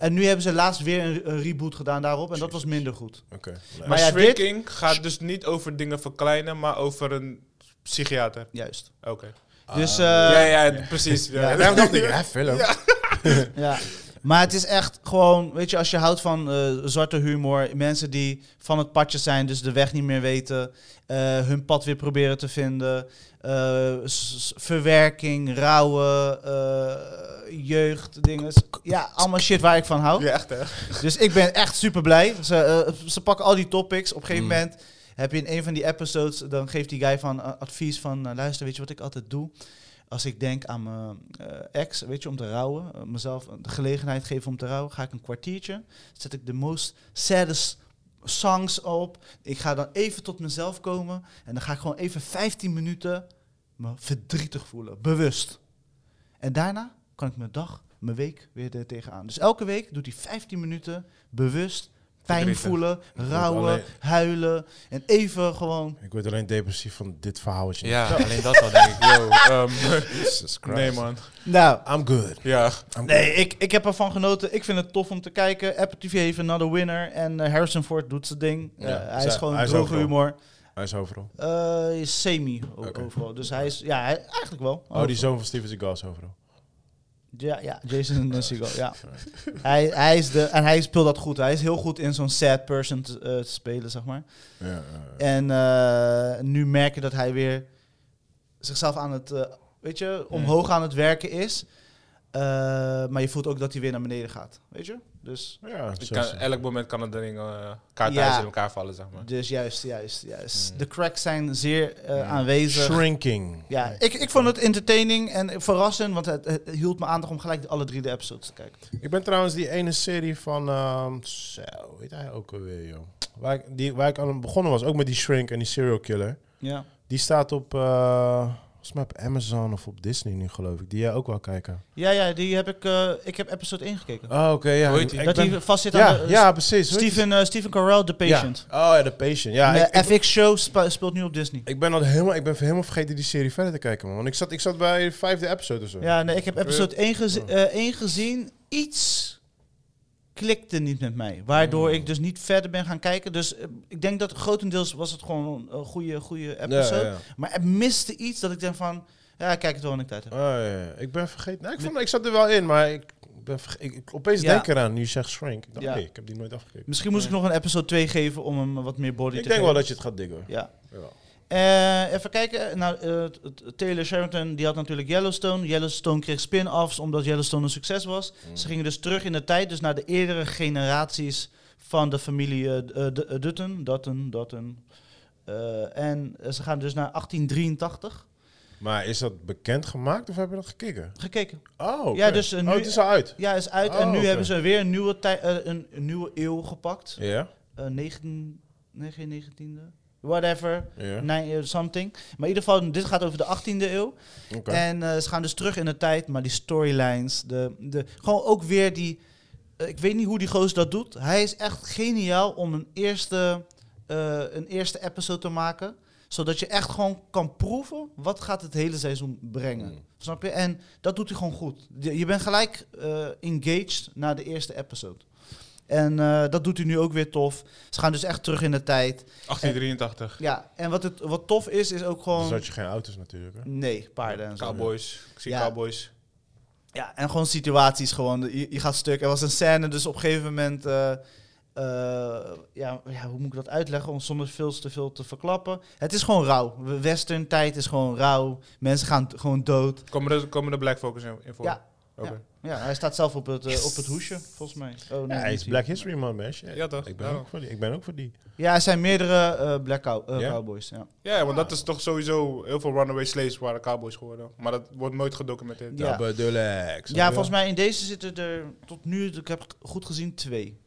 S2: En nu hebben ze laatst weer een, een reboot gedaan daarop. En dat was minder goed.
S1: Oké.
S3: Maar,
S2: Maar ja, dit-
S3: shrinking gaat dus niet over dingen verkleinen, maar over een psychiater.
S2: Juist.
S3: Oké.
S2: Dus, eh,
S3: ja, ja, precies. Ja.
S1: Daarom dacht ik, hè, film.
S2: Ja. Maar het is echt gewoon, weet je, als je houdt van eh, zwarte humor, mensen die van het padje zijn, dus de weg niet meer weten, eh, hun pad weer proberen te vinden, eh, s- s- verwerking, rouwen, eh, jeugd, dingen. Ja, allemaal shit waar ik van hou.
S3: Ja, echt hè?
S2: Dus ik ben echt super blij. Ze, eh, ze pakken al die topics. Op een
S3: Mm.
S2: gegeven moment heb je in een van die episodes, dan geeft die guy van eh, advies van eh, luister, weet je wat ik altijd doe? Als ik denk aan mijn eh, ex, weet je, om te rouwen, eh, mezelf de gelegenheid geven om te rouwen, ga ik een kwartiertje, zet ik de most saddest songs op. Ik ga dan even tot mezelf komen en dan ga ik gewoon even 15 minuten me verdrietig voelen, bewust. En daarna kan ik mijn dag, mijn week weer er tegenaan. Dus elke week doet hij 15 minuten bewust pijn
S3: Verdrietig.
S2: voelen, rouwen,
S1: alleen-
S2: huilen. En even gewoon...
S1: Ik word alleen depressief van dit verhaal. wat je
S4: Ja, alleen dat al denk ik. Yo, ehm,
S1: Jesus Christ.
S3: Nee, man.
S2: Nou,
S1: I'm good.
S3: Ja.
S1: I'm
S2: nee, ik, ik heb ervan genoten. Ik vind het tof om te kijken. Apple TV heeft another winner. En eh, Harrison Ford doet zijn ding. Eh,
S1: Ja,
S2: hij
S1: zij-
S2: is gewoon
S1: hij is
S2: droge
S1: overal.
S2: humor.
S1: good. Hij is overal. Oh,
S2: Eh, is semi o-
S1: Oké.
S2: overal. Dus hij is... Ja, hij- eigenlijk wel.
S1: Oh, die zoon van Steven Seagal is overal.
S2: Ja, ja, Jason Segel, ja. hij, hij is de, en hij speelt dat goed. Hij is heel goed in zo'n sad person te, eh, te spelen, zeg maar.
S1: Ja, ja, ja.
S2: En eh, nu merk je dat hij weer zichzelf aan het, eh, weet je, omhoog aan het werken is. Eh, maar je voelt ook dat hij weer naar beneden gaat, weet je? Dus,
S1: ja
S3: Ik
S1: zo
S3: kan,
S1: is het.
S3: elk moment kan het ding eh kaart
S2: Ja.
S3: thuis in elkaar vallen, zeg maar.
S2: dus juist, juist, juist.
S3: Mm.
S2: De cracks zijn zeer eh, aanwezig.
S1: Shrinking.
S2: Ja, ik, ik vond het entertaining en verrassend, want het, het hield me aandacht om gelijk alle drie de episodes te kijken.
S1: Ik ben trouwens die ene serie van... ehm zo, weet hij ook alweer, joh. Waar ik, die, waar ik aan begonnen was, ook met die Shrink en die Serial Killer.
S2: Ja.
S1: Die staat op, eh, volgens mij op Amazon of op Disney nu, geloof ik. Die jij ook wel kijken.
S2: Ja, ja, die heb ik, eh, ik heb episode 1 gekeken.
S1: Oh, oké, ja.
S4: Hoe heet die?
S1: Ik
S2: dat
S1: ben-
S2: hij vast zit aan
S1: ja,
S2: de, eh,
S1: ja, precies. Hoe heet
S2: Stephen, eh, Stephen Carell, The
S1: die? Ja.
S2: Patient.
S1: Oh ja, The Patient. Ja, ik-
S2: de
S1: ik,
S2: FX-show spa- speelt nu op Disney.
S1: ik ben al helemaal, ik ben helemaal vergeten die serie verder te kijken, man. Want ik zat, ik zat bij de vijfde episode of zo.
S2: Ja, nee, ik heb episode 1, gezi-
S1: Oh.
S2: eh, 1 gezien. Iets klikte niet met mij.
S1: Oh.
S2: Waardoor ik dus niet verder ben gaan kijken. Dus eh, ik denk dat grotendeels was het gewoon een goede, goede episode.
S1: Ja, ja, ja.
S2: Maar het miste iets dat ik denk van... Ja, ik kijk het wel wanneer ik tijd heb.
S1: Oh, ja, ja. Ik ben vergeten. Nou, ik, vond, ik zat er wel in, maar ik, ben verge- ik, ik- opeens
S2: Ja.
S1: denk ik eraan. Nu je zegt Shrink. Ik dacht,
S2: Ja.
S1: nee, ik heb die nooit afgekeken.
S2: Misschien moest ik nog een episode 2 geven om hem wat meer body
S1: Ik
S2: te
S1: denk wel
S2: geven.
S1: dat je het gaat diggen. hoor.
S2: Ja.
S1: Ja.
S2: Eh, even kijken. Nou, eh, t- t- Taylor Sheridan die had natuurlijk Yellowstone. Yellowstone kreeg spin-offs omdat Yellowstone een succes was.
S1: Mm.
S2: Ze gingen dus terug in de tijd, dus naar de eerdere generaties van de familie eh, d- eh, d- eh, Dutton. Dutton, Dutton. Eh, en eh, ze gaan dus naar 1883
S1: Maar is dat bekend gemaakt of heb je dat gekeken?
S2: gekeken.
S1: Oh,
S2: Ja,
S1: oké.
S2: dus, eh,
S1: Oh,
S2: nu-
S1: het is al uit.
S2: Ja, is uit. en
S1: Oh,
S2: nu
S1: oké.
S2: hebben ze weer een nieuwe, tij- eh, een, een nieuwe eeuw gepakt.
S1: Ja,
S2: Eh 19, nee, geen 19e. Whatever.
S1: ja.
S2: Nine, eh, something. Maar in ieder geval, dit gaat over de 18e eeuw.
S1: Oké.
S2: En eh, ze gaan dus terug in de tijd, maar die storylines, de, de, gewoon ook weer die... eh, ik weet niet hoe die gozer dat doet. Hij is echt geniaal om een eerste, eh, een eerste episode te maken. Zodat je echt gewoon kan proeven wat gaat het hele seizoen brengen.
S1: Mm.
S2: Snap je? En dat doet hij gewoon goed. Je je bent gelijk eh, engaged na de eerste episode. En eh, dat doet hij nu ook weer tof. Ze gaan dus echt terug in de tijd.
S3: 1883.
S2: Ja, en wat, het, wat tof is, is ook gewoon...
S1: Dus had je geen auto's natuurlijk. Hè?
S2: Nee, paarden en zo.
S3: Cowboys. Ik zie
S2: Ja.
S3: cowboys.
S2: Ja, en gewoon situaties gewoon. Je, je gaat stuk. Er was een scène, dus op een gegeven moment... eh, eh, ja, ja, hoe moet ik dat uitleggen? Om zonder veel te veel te verklappen. Het is gewoon rauw. We- Western tijd is gewoon rauw. Mensen gaan t- gewoon dood.
S3: Komen er, komen er black focus in, in voor?
S2: Ja.
S3: Oké.
S2: Ja, hij staat zelf op het, eh, op het hoesje, volgens mij. Oh, nee,
S1: Ja, hij
S2: niet
S1: is
S2: hier.
S1: Black History Man, man. Shit.
S3: Ja, toch?
S1: Ik ben,
S2: Oh.
S3: Daarom.
S1: ook voor die. ik ben ook voor die.
S2: Ja, er zijn meerdere eh black cow- eh,
S1: Ja?
S2: cowboys. Ja.
S3: Ja, want dat is toch sowieso... Heel veel runaway slaves waren cowboys geworden. Maar dat wordt nooit gedocumenteerd.
S2: Ja.
S1: Double deluxe.
S2: ja, volgens mij in deze zitten er tot nu, ik heb goed gezien, twee.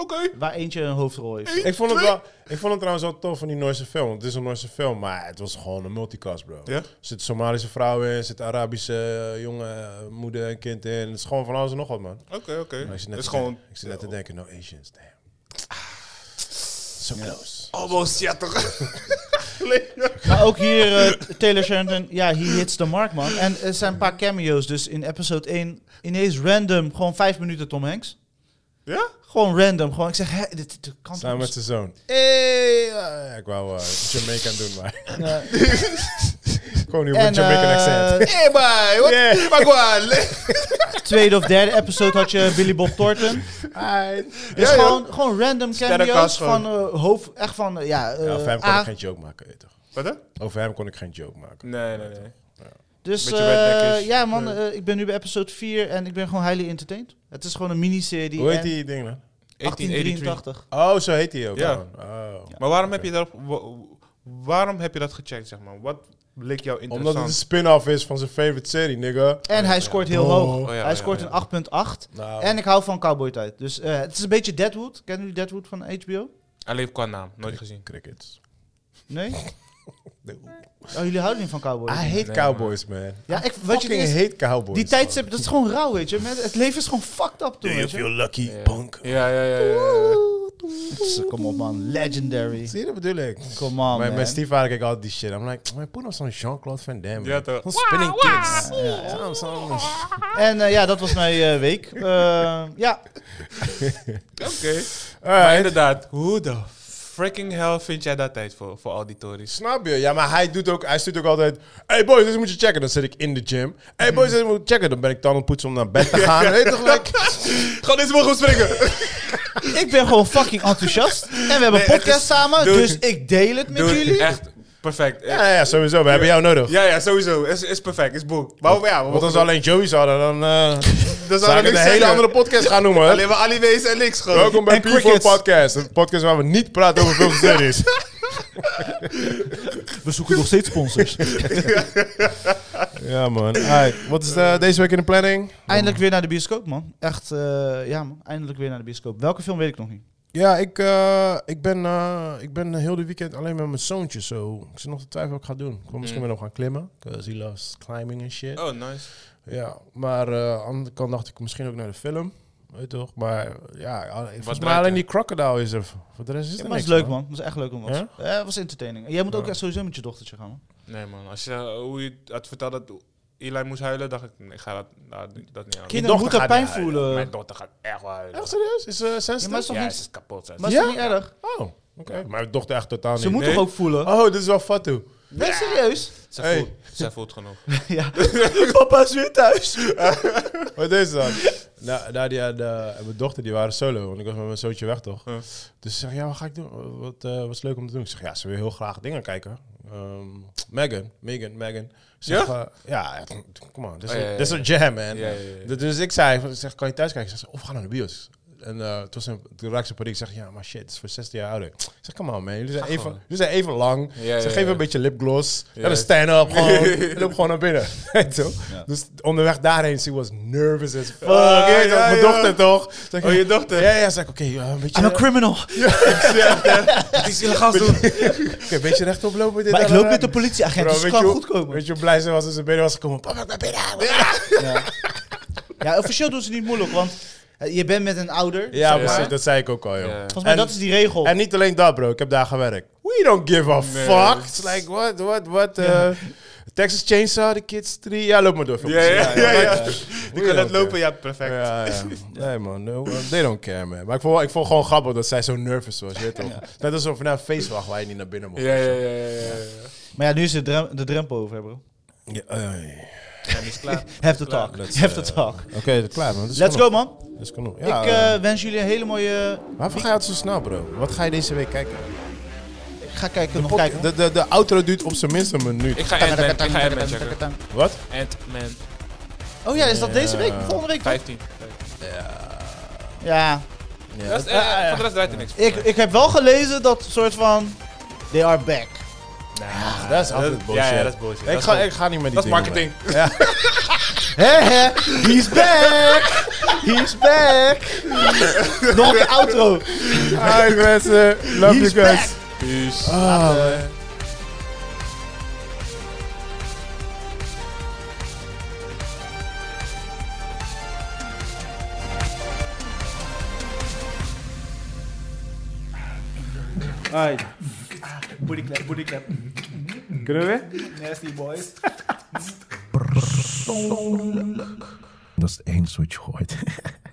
S3: Oké.
S2: Waar eentje een hoofdrol heeft.
S1: Ik vond, het wel, ik vond het trouwens wel tof van die Noorse film. Want het is een Noorse film, maar het was gewoon een multicast, bro.
S3: Ja?
S1: Er zitten Somalische vrouwen in, er zitten Arabische eh, jongen, eh, moeder en kind in. Het is gewoon van alles en nog wat, man.
S3: Oké, oké.
S1: Maar ik
S3: Het
S1: zit net,
S3: is
S1: te,
S3: gewoon...
S1: denken- ik zit net te denken, no Asians, damn. So close.
S3: Almost, ja toch?
S2: Maar ook hier, eh, Taylor Sheridan, ja, he hits the mark, man. En er zijn een paar cameo's, dus in episode 1, ineens random, gewoon vijf minuten Tom Hanks.
S3: Ja?
S2: Gewoon random, gewoon, ik zeg, hè, dit, dit kan
S1: Samen
S2: toch
S1: met zijn zoon.
S2: Hey,
S1: Ja, ik wou eh Jamaican doen, maar
S2: eh, eh,
S1: gewoon nu
S2: En,
S1: met Jamaican
S2: eh,
S1: accent.
S3: Hey boy, what
S1: Yeah.
S3: the fuck, man?
S2: tweede of derde episode had je Billy Bob Thornton. Dus
S3: Ja, joh.
S2: gewoon, gewoon random cameo's
S3: Sterrenkast gewoon.
S2: van eh, hoofd, echt van, eh, ja, eh,
S1: Ja, over hem kon
S2: A.
S1: ik geen joke maken, weet je toch?
S3: Wat hè?
S1: Over hem kon ik geen joke maken.
S3: Nee, nee, nee.
S2: Dus
S3: beetje
S2: eh,
S3: redneckish.
S2: ja, man,
S3: Nee.
S2: eh, ik ben nu bij episode 4 en ik ben gewoon highly entertained. Het is gewoon een miniserie.
S1: Hoe heet
S2: en
S1: die ding dan?
S3: 1883.
S2: 1883.
S1: Oh, zo heet hij ook.
S3: Ja.
S1: man. Oh.
S3: Maar waarom heb je dat... wa- Waarom heb je dat gecheckt, zeg maar? Wat leek jou interessant?
S1: Omdat het een spin-off is van zijn favorite serie, nigga.
S2: En hij scoort heel
S1: Oh.
S2: hoog.
S4: Oh, ja,
S2: hij
S4: ja,
S2: scoort
S4: ja.
S2: een 8.8.
S1: Nou,
S2: En ik hou van cowboy tijd. Dus eh, het is een beetje Deadwood. Kennen jullie Deadwood van HBO?
S3: Alleen qua naam, nooit gezien.
S1: crickets.
S2: Nee? Oh, jullie houden niet van cowboy.
S1: I hate
S3: Nee,
S1: cowboys, man.
S2: ja,
S1: Wat
S2: ik weet je
S1: je
S2: niet.
S1: hate cowboys.
S2: Die tijdstip, dat is gewoon rauw, weet je. Met- Het leven is gewoon fucked up toen, weet je.
S1: lucky,
S3: Ja, ja, ja. ja, ja.
S2: Pss, Kom op man, legendary.
S1: Zie je, dat bedoel ik.
S2: Come on
S1: Mijn,
S2: man.
S1: mijn stiefvader kijkt altijd die shit. I'm like, man, put on zo'n Jean-Claude Van Damme.
S4: Ja,
S1: man.
S4: toch.
S1: Zo'n spinning kids. Zo'n- zo'n-
S2: En eh, ja, dat was mijn eh, week. Eh, ja,
S3: Oké. Maar
S1: Alright.
S3: inderdaad, hoe de freaking hell vind jij daar tijd voor, voor al die tories?
S1: Snap je? Ja, maar hij doet ook, hij stuurt ook altijd, hey boys, dit moet je checken. Dan zit ik in de gym. Hey boys, dit moet je checken. Dan ben ik tanden poetsen om naar bed te gaan. Weet je toch, like,
S3: Gewoon deze morgen springen!
S2: ik ben gewoon fucking enthousiast. En we hebben
S3: Nee,
S2: een
S3: het
S2: podcast
S3: is-
S2: samen,
S3: Dude.
S2: dus ik deel het met
S3: Dude,
S2: jullie.
S3: echt perfect.
S1: ja, ja, sowieso, we hebben jou nodig.
S3: Ja, ja, sowieso. Is, is perfect, is boek. Maar ja, we
S1: Want als we alleen Joey zouden, dan eh
S3: dan
S1: zou ik het een
S3: niks
S1: hele
S3: zeggen.
S1: andere podcast gaan noemen. hè?
S3: Alleen maar Aliwees en niks gewoon.
S1: Welkom bij
S2: En
S1: People
S2: crickets.
S1: Podcast. Een podcast waar we niet praten over films en series.
S2: We zoeken nog steeds sponsors.
S1: ja, man. Alright, Wat is eh, deze week in de planning?
S2: Eindelijk weer naar de bioscoop, man. Echt, eh, ja man, eindelijk weer naar de bioscoop. Welke film weet ik nog niet.
S1: Ja, ik, eh, ik, ben, eh, ik ben heel de weekend alleen met mijn zoontje. Zo. Ik zit nog te twijfelen wat ik ga doen. Ik wil misschien wel nog gaan klimmen. Because he loves climbing en shit.
S3: Oh, nice.
S1: Ja, maar eh, aan de andere kant dacht ik misschien ook naar de film. Weet je toch? Maar eh, ja, al- volgens mij
S3: draait
S1: alleen
S3: er?
S1: die crocodile is er. Voor de rest is
S2: Ja,
S1: er
S2: maar het
S1: niks.
S2: is leuk, man. Het was echt leuk om wat.
S1: Ja?
S2: Ja? het was entertaining. En Jij moet ook echt sowieso met je dochtertje gaan, man.
S3: Nee man, als je eh, hoe je had verteld dat Eli moest huilen, dacht ik, nee, ik ga dat, nou, dat niet aan.
S2: Kinderen
S1: dochter
S2: moeten
S1: gaat
S2: pijn
S1: niet huilen.
S2: voelen.
S3: Mijn dochter gaat echt wel huilen.
S1: Echt serieus? Is ze
S2: Ja,
S1: sensitive?
S2: maar het is toch
S3: ja,
S2: niet,
S3: ze is kapot. Ze
S2: maar
S3: is-
S2: het is toch niet erg?
S1: Oh, oké. Maar mijn dochter echt totaal
S2: Ze
S1: niet.
S2: moet
S3: nee.
S2: toch ook voelen?
S1: Oh, dit is wel fatu.
S2: Nee, serieus?
S3: Ze,
S1: Hey.
S3: voelt, ze voelt genoeg.
S2: ja. Papa is weer thuis.
S1: Wat is dat? Na, Nadia en, eh, en mijn dochter die waren solo, want ik was met mijn zoontje weg toch.
S3: Ja.
S1: Dus ze zegt, ja, wat ga ik doen? Wat, eh, wat is leuk om te doen? Ik zeg, ja, ze wil heel graag dingen kijken. Ehm Megan, Megan, Megan.
S3: Ja?
S1: ja, echt, come on, dit is
S3: Oh, ja,
S1: een-
S3: ja,
S1: dit is een jam, man.
S3: Ja, ja, ja.
S1: Dus- Dus ik zei, van, ik zeg, kan je thuis kijken? Ze zegt, of we gaan naar de bios. En eh, toen, ze, toen raakte ze in paniek. Ik zeg, ja, maar shit, het is voor 16 jaar ouder. Ik zeg, come on, man. Jullie zijn, even,
S3: gewoon.
S1: jullie zijn even lang.
S3: Ja,
S1: ze
S3: ja,
S1: geven
S3: ja.
S1: een beetje lipgloss.
S3: Ja.
S1: Ja, dan stand-up gewoon. en loop gewoon naar binnen. Weet je wel? Dus onderweg daarheen, she was nervous as fuck.
S3: Ah,
S1: Je weet toch,
S3: ja,
S1: mijn
S3: ja.
S1: dochter toch? Zeg ik,
S3: Oh, je dochter?
S1: Ja, ja. Zeg ik, oké, eh, een beetje...
S2: I'm a criminal.
S3: Het is illegaal doen.
S1: Oké, een beetje rechtop lopen. Dit,
S2: Maar ik
S1: dat,
S2: loop
S1: dat,
S2: met de
S1: dat.
S2: politieagent,
S1: Bro,
S2: dus het
S1: weet
S2: kan
S1: je
S2: goed
S1: hoe-
S2: komen.
S1: Weet je hoe blij ze was als ze binnen was gekomen? Papa, ik ben binnen.
S2: Ja. ja, officieel doen ze niet moeilijk, want eh, je bent met een ouder.
S1: Ja,
S2: zeg maar.
S1: precies. Dat zei ik ook al, joh.
S3: Ja.
S2: Volgens mij
S1: En-
S2: dat is die regel.
S1: En niet alleen dat, bro. Ik heb daar gewerkt. We don't give a
S3: Nee.
S1: fuck. It's like, what, what, what? eh, Texas Chainsaw, The Kids 3. Ja, loop maar door.
S3: Ja, ja, ja. ja. Die
S1: We
S3: kan net
S1: don't
S3: lopen, ja, perfect.
S1: Ja, ja. Nee, man. No, uh, they don't care, man. Maar ik vond, ik vond gewoon grappig dat zij zo nervous was. Je weet toch? Net alsof naar een feest wacht waar je niet naar binnen mocht.
S3: Ja, ja, ja, ja, ja. ja.
S2: Maar ja, nu is de, drem- de drempel over, hè, bro.
S1: Ja, eh,
S3: En die is klaar.
S2: Have the talk.
S1: let's,
S2: Have the
S1: eh,
S2: talk.
S1: Oké, klaar, man. Dat is
S2: Let's go,
S1: genoeg.
S2: man.
S1: Dat is genoeg. Ja,
S2: Ik
S1: eh,
S2: eh, wens jullie een hele mooie...
S1: waarvoor ga je altijd zo snel, bro? Wat ga je deze week kijken?
S2: Ik ga kijken, nog
S1: Pod-
S2: kijken.
S1: de, de, de outro duurt op zijn minst een minuut.
S3: Ik ga Ant-Man, ik ga Ant-Man checken.
S1: Wat?
S3: Ant-Man
S2: Oh ja, is dat deze week?
S1: Ja.
S2: Volgende week? toch?
S3: 15.
S2: Ah, Ja.
S3: Dat is, eh, Van de rest draait er niks.
S2: Ik, ik heb wel gelezen dat soort van... They are back.
S1: Ach, Ah, dat is altijd bullshit.
S3: Ja, ja, dat is bullshit.
S1: Ik
S3: Dat is
S1: ga,
S3: gewoon-
S1: ik ga niet met die
S3: Dat is
S1: dingen
S3: marketing.
S2: Hè, hè? He's back! He's back! Nog een outro.
S1: mee. Alright, mensen. Love
S2: He's
S1: you guys.
S3: Peace.
S1: Ah, man.
S2: Alright. Booty clap, booty clap.
S4: Kunnen we?
S2: Nasty boys.
S5: Dat is één switch gooit.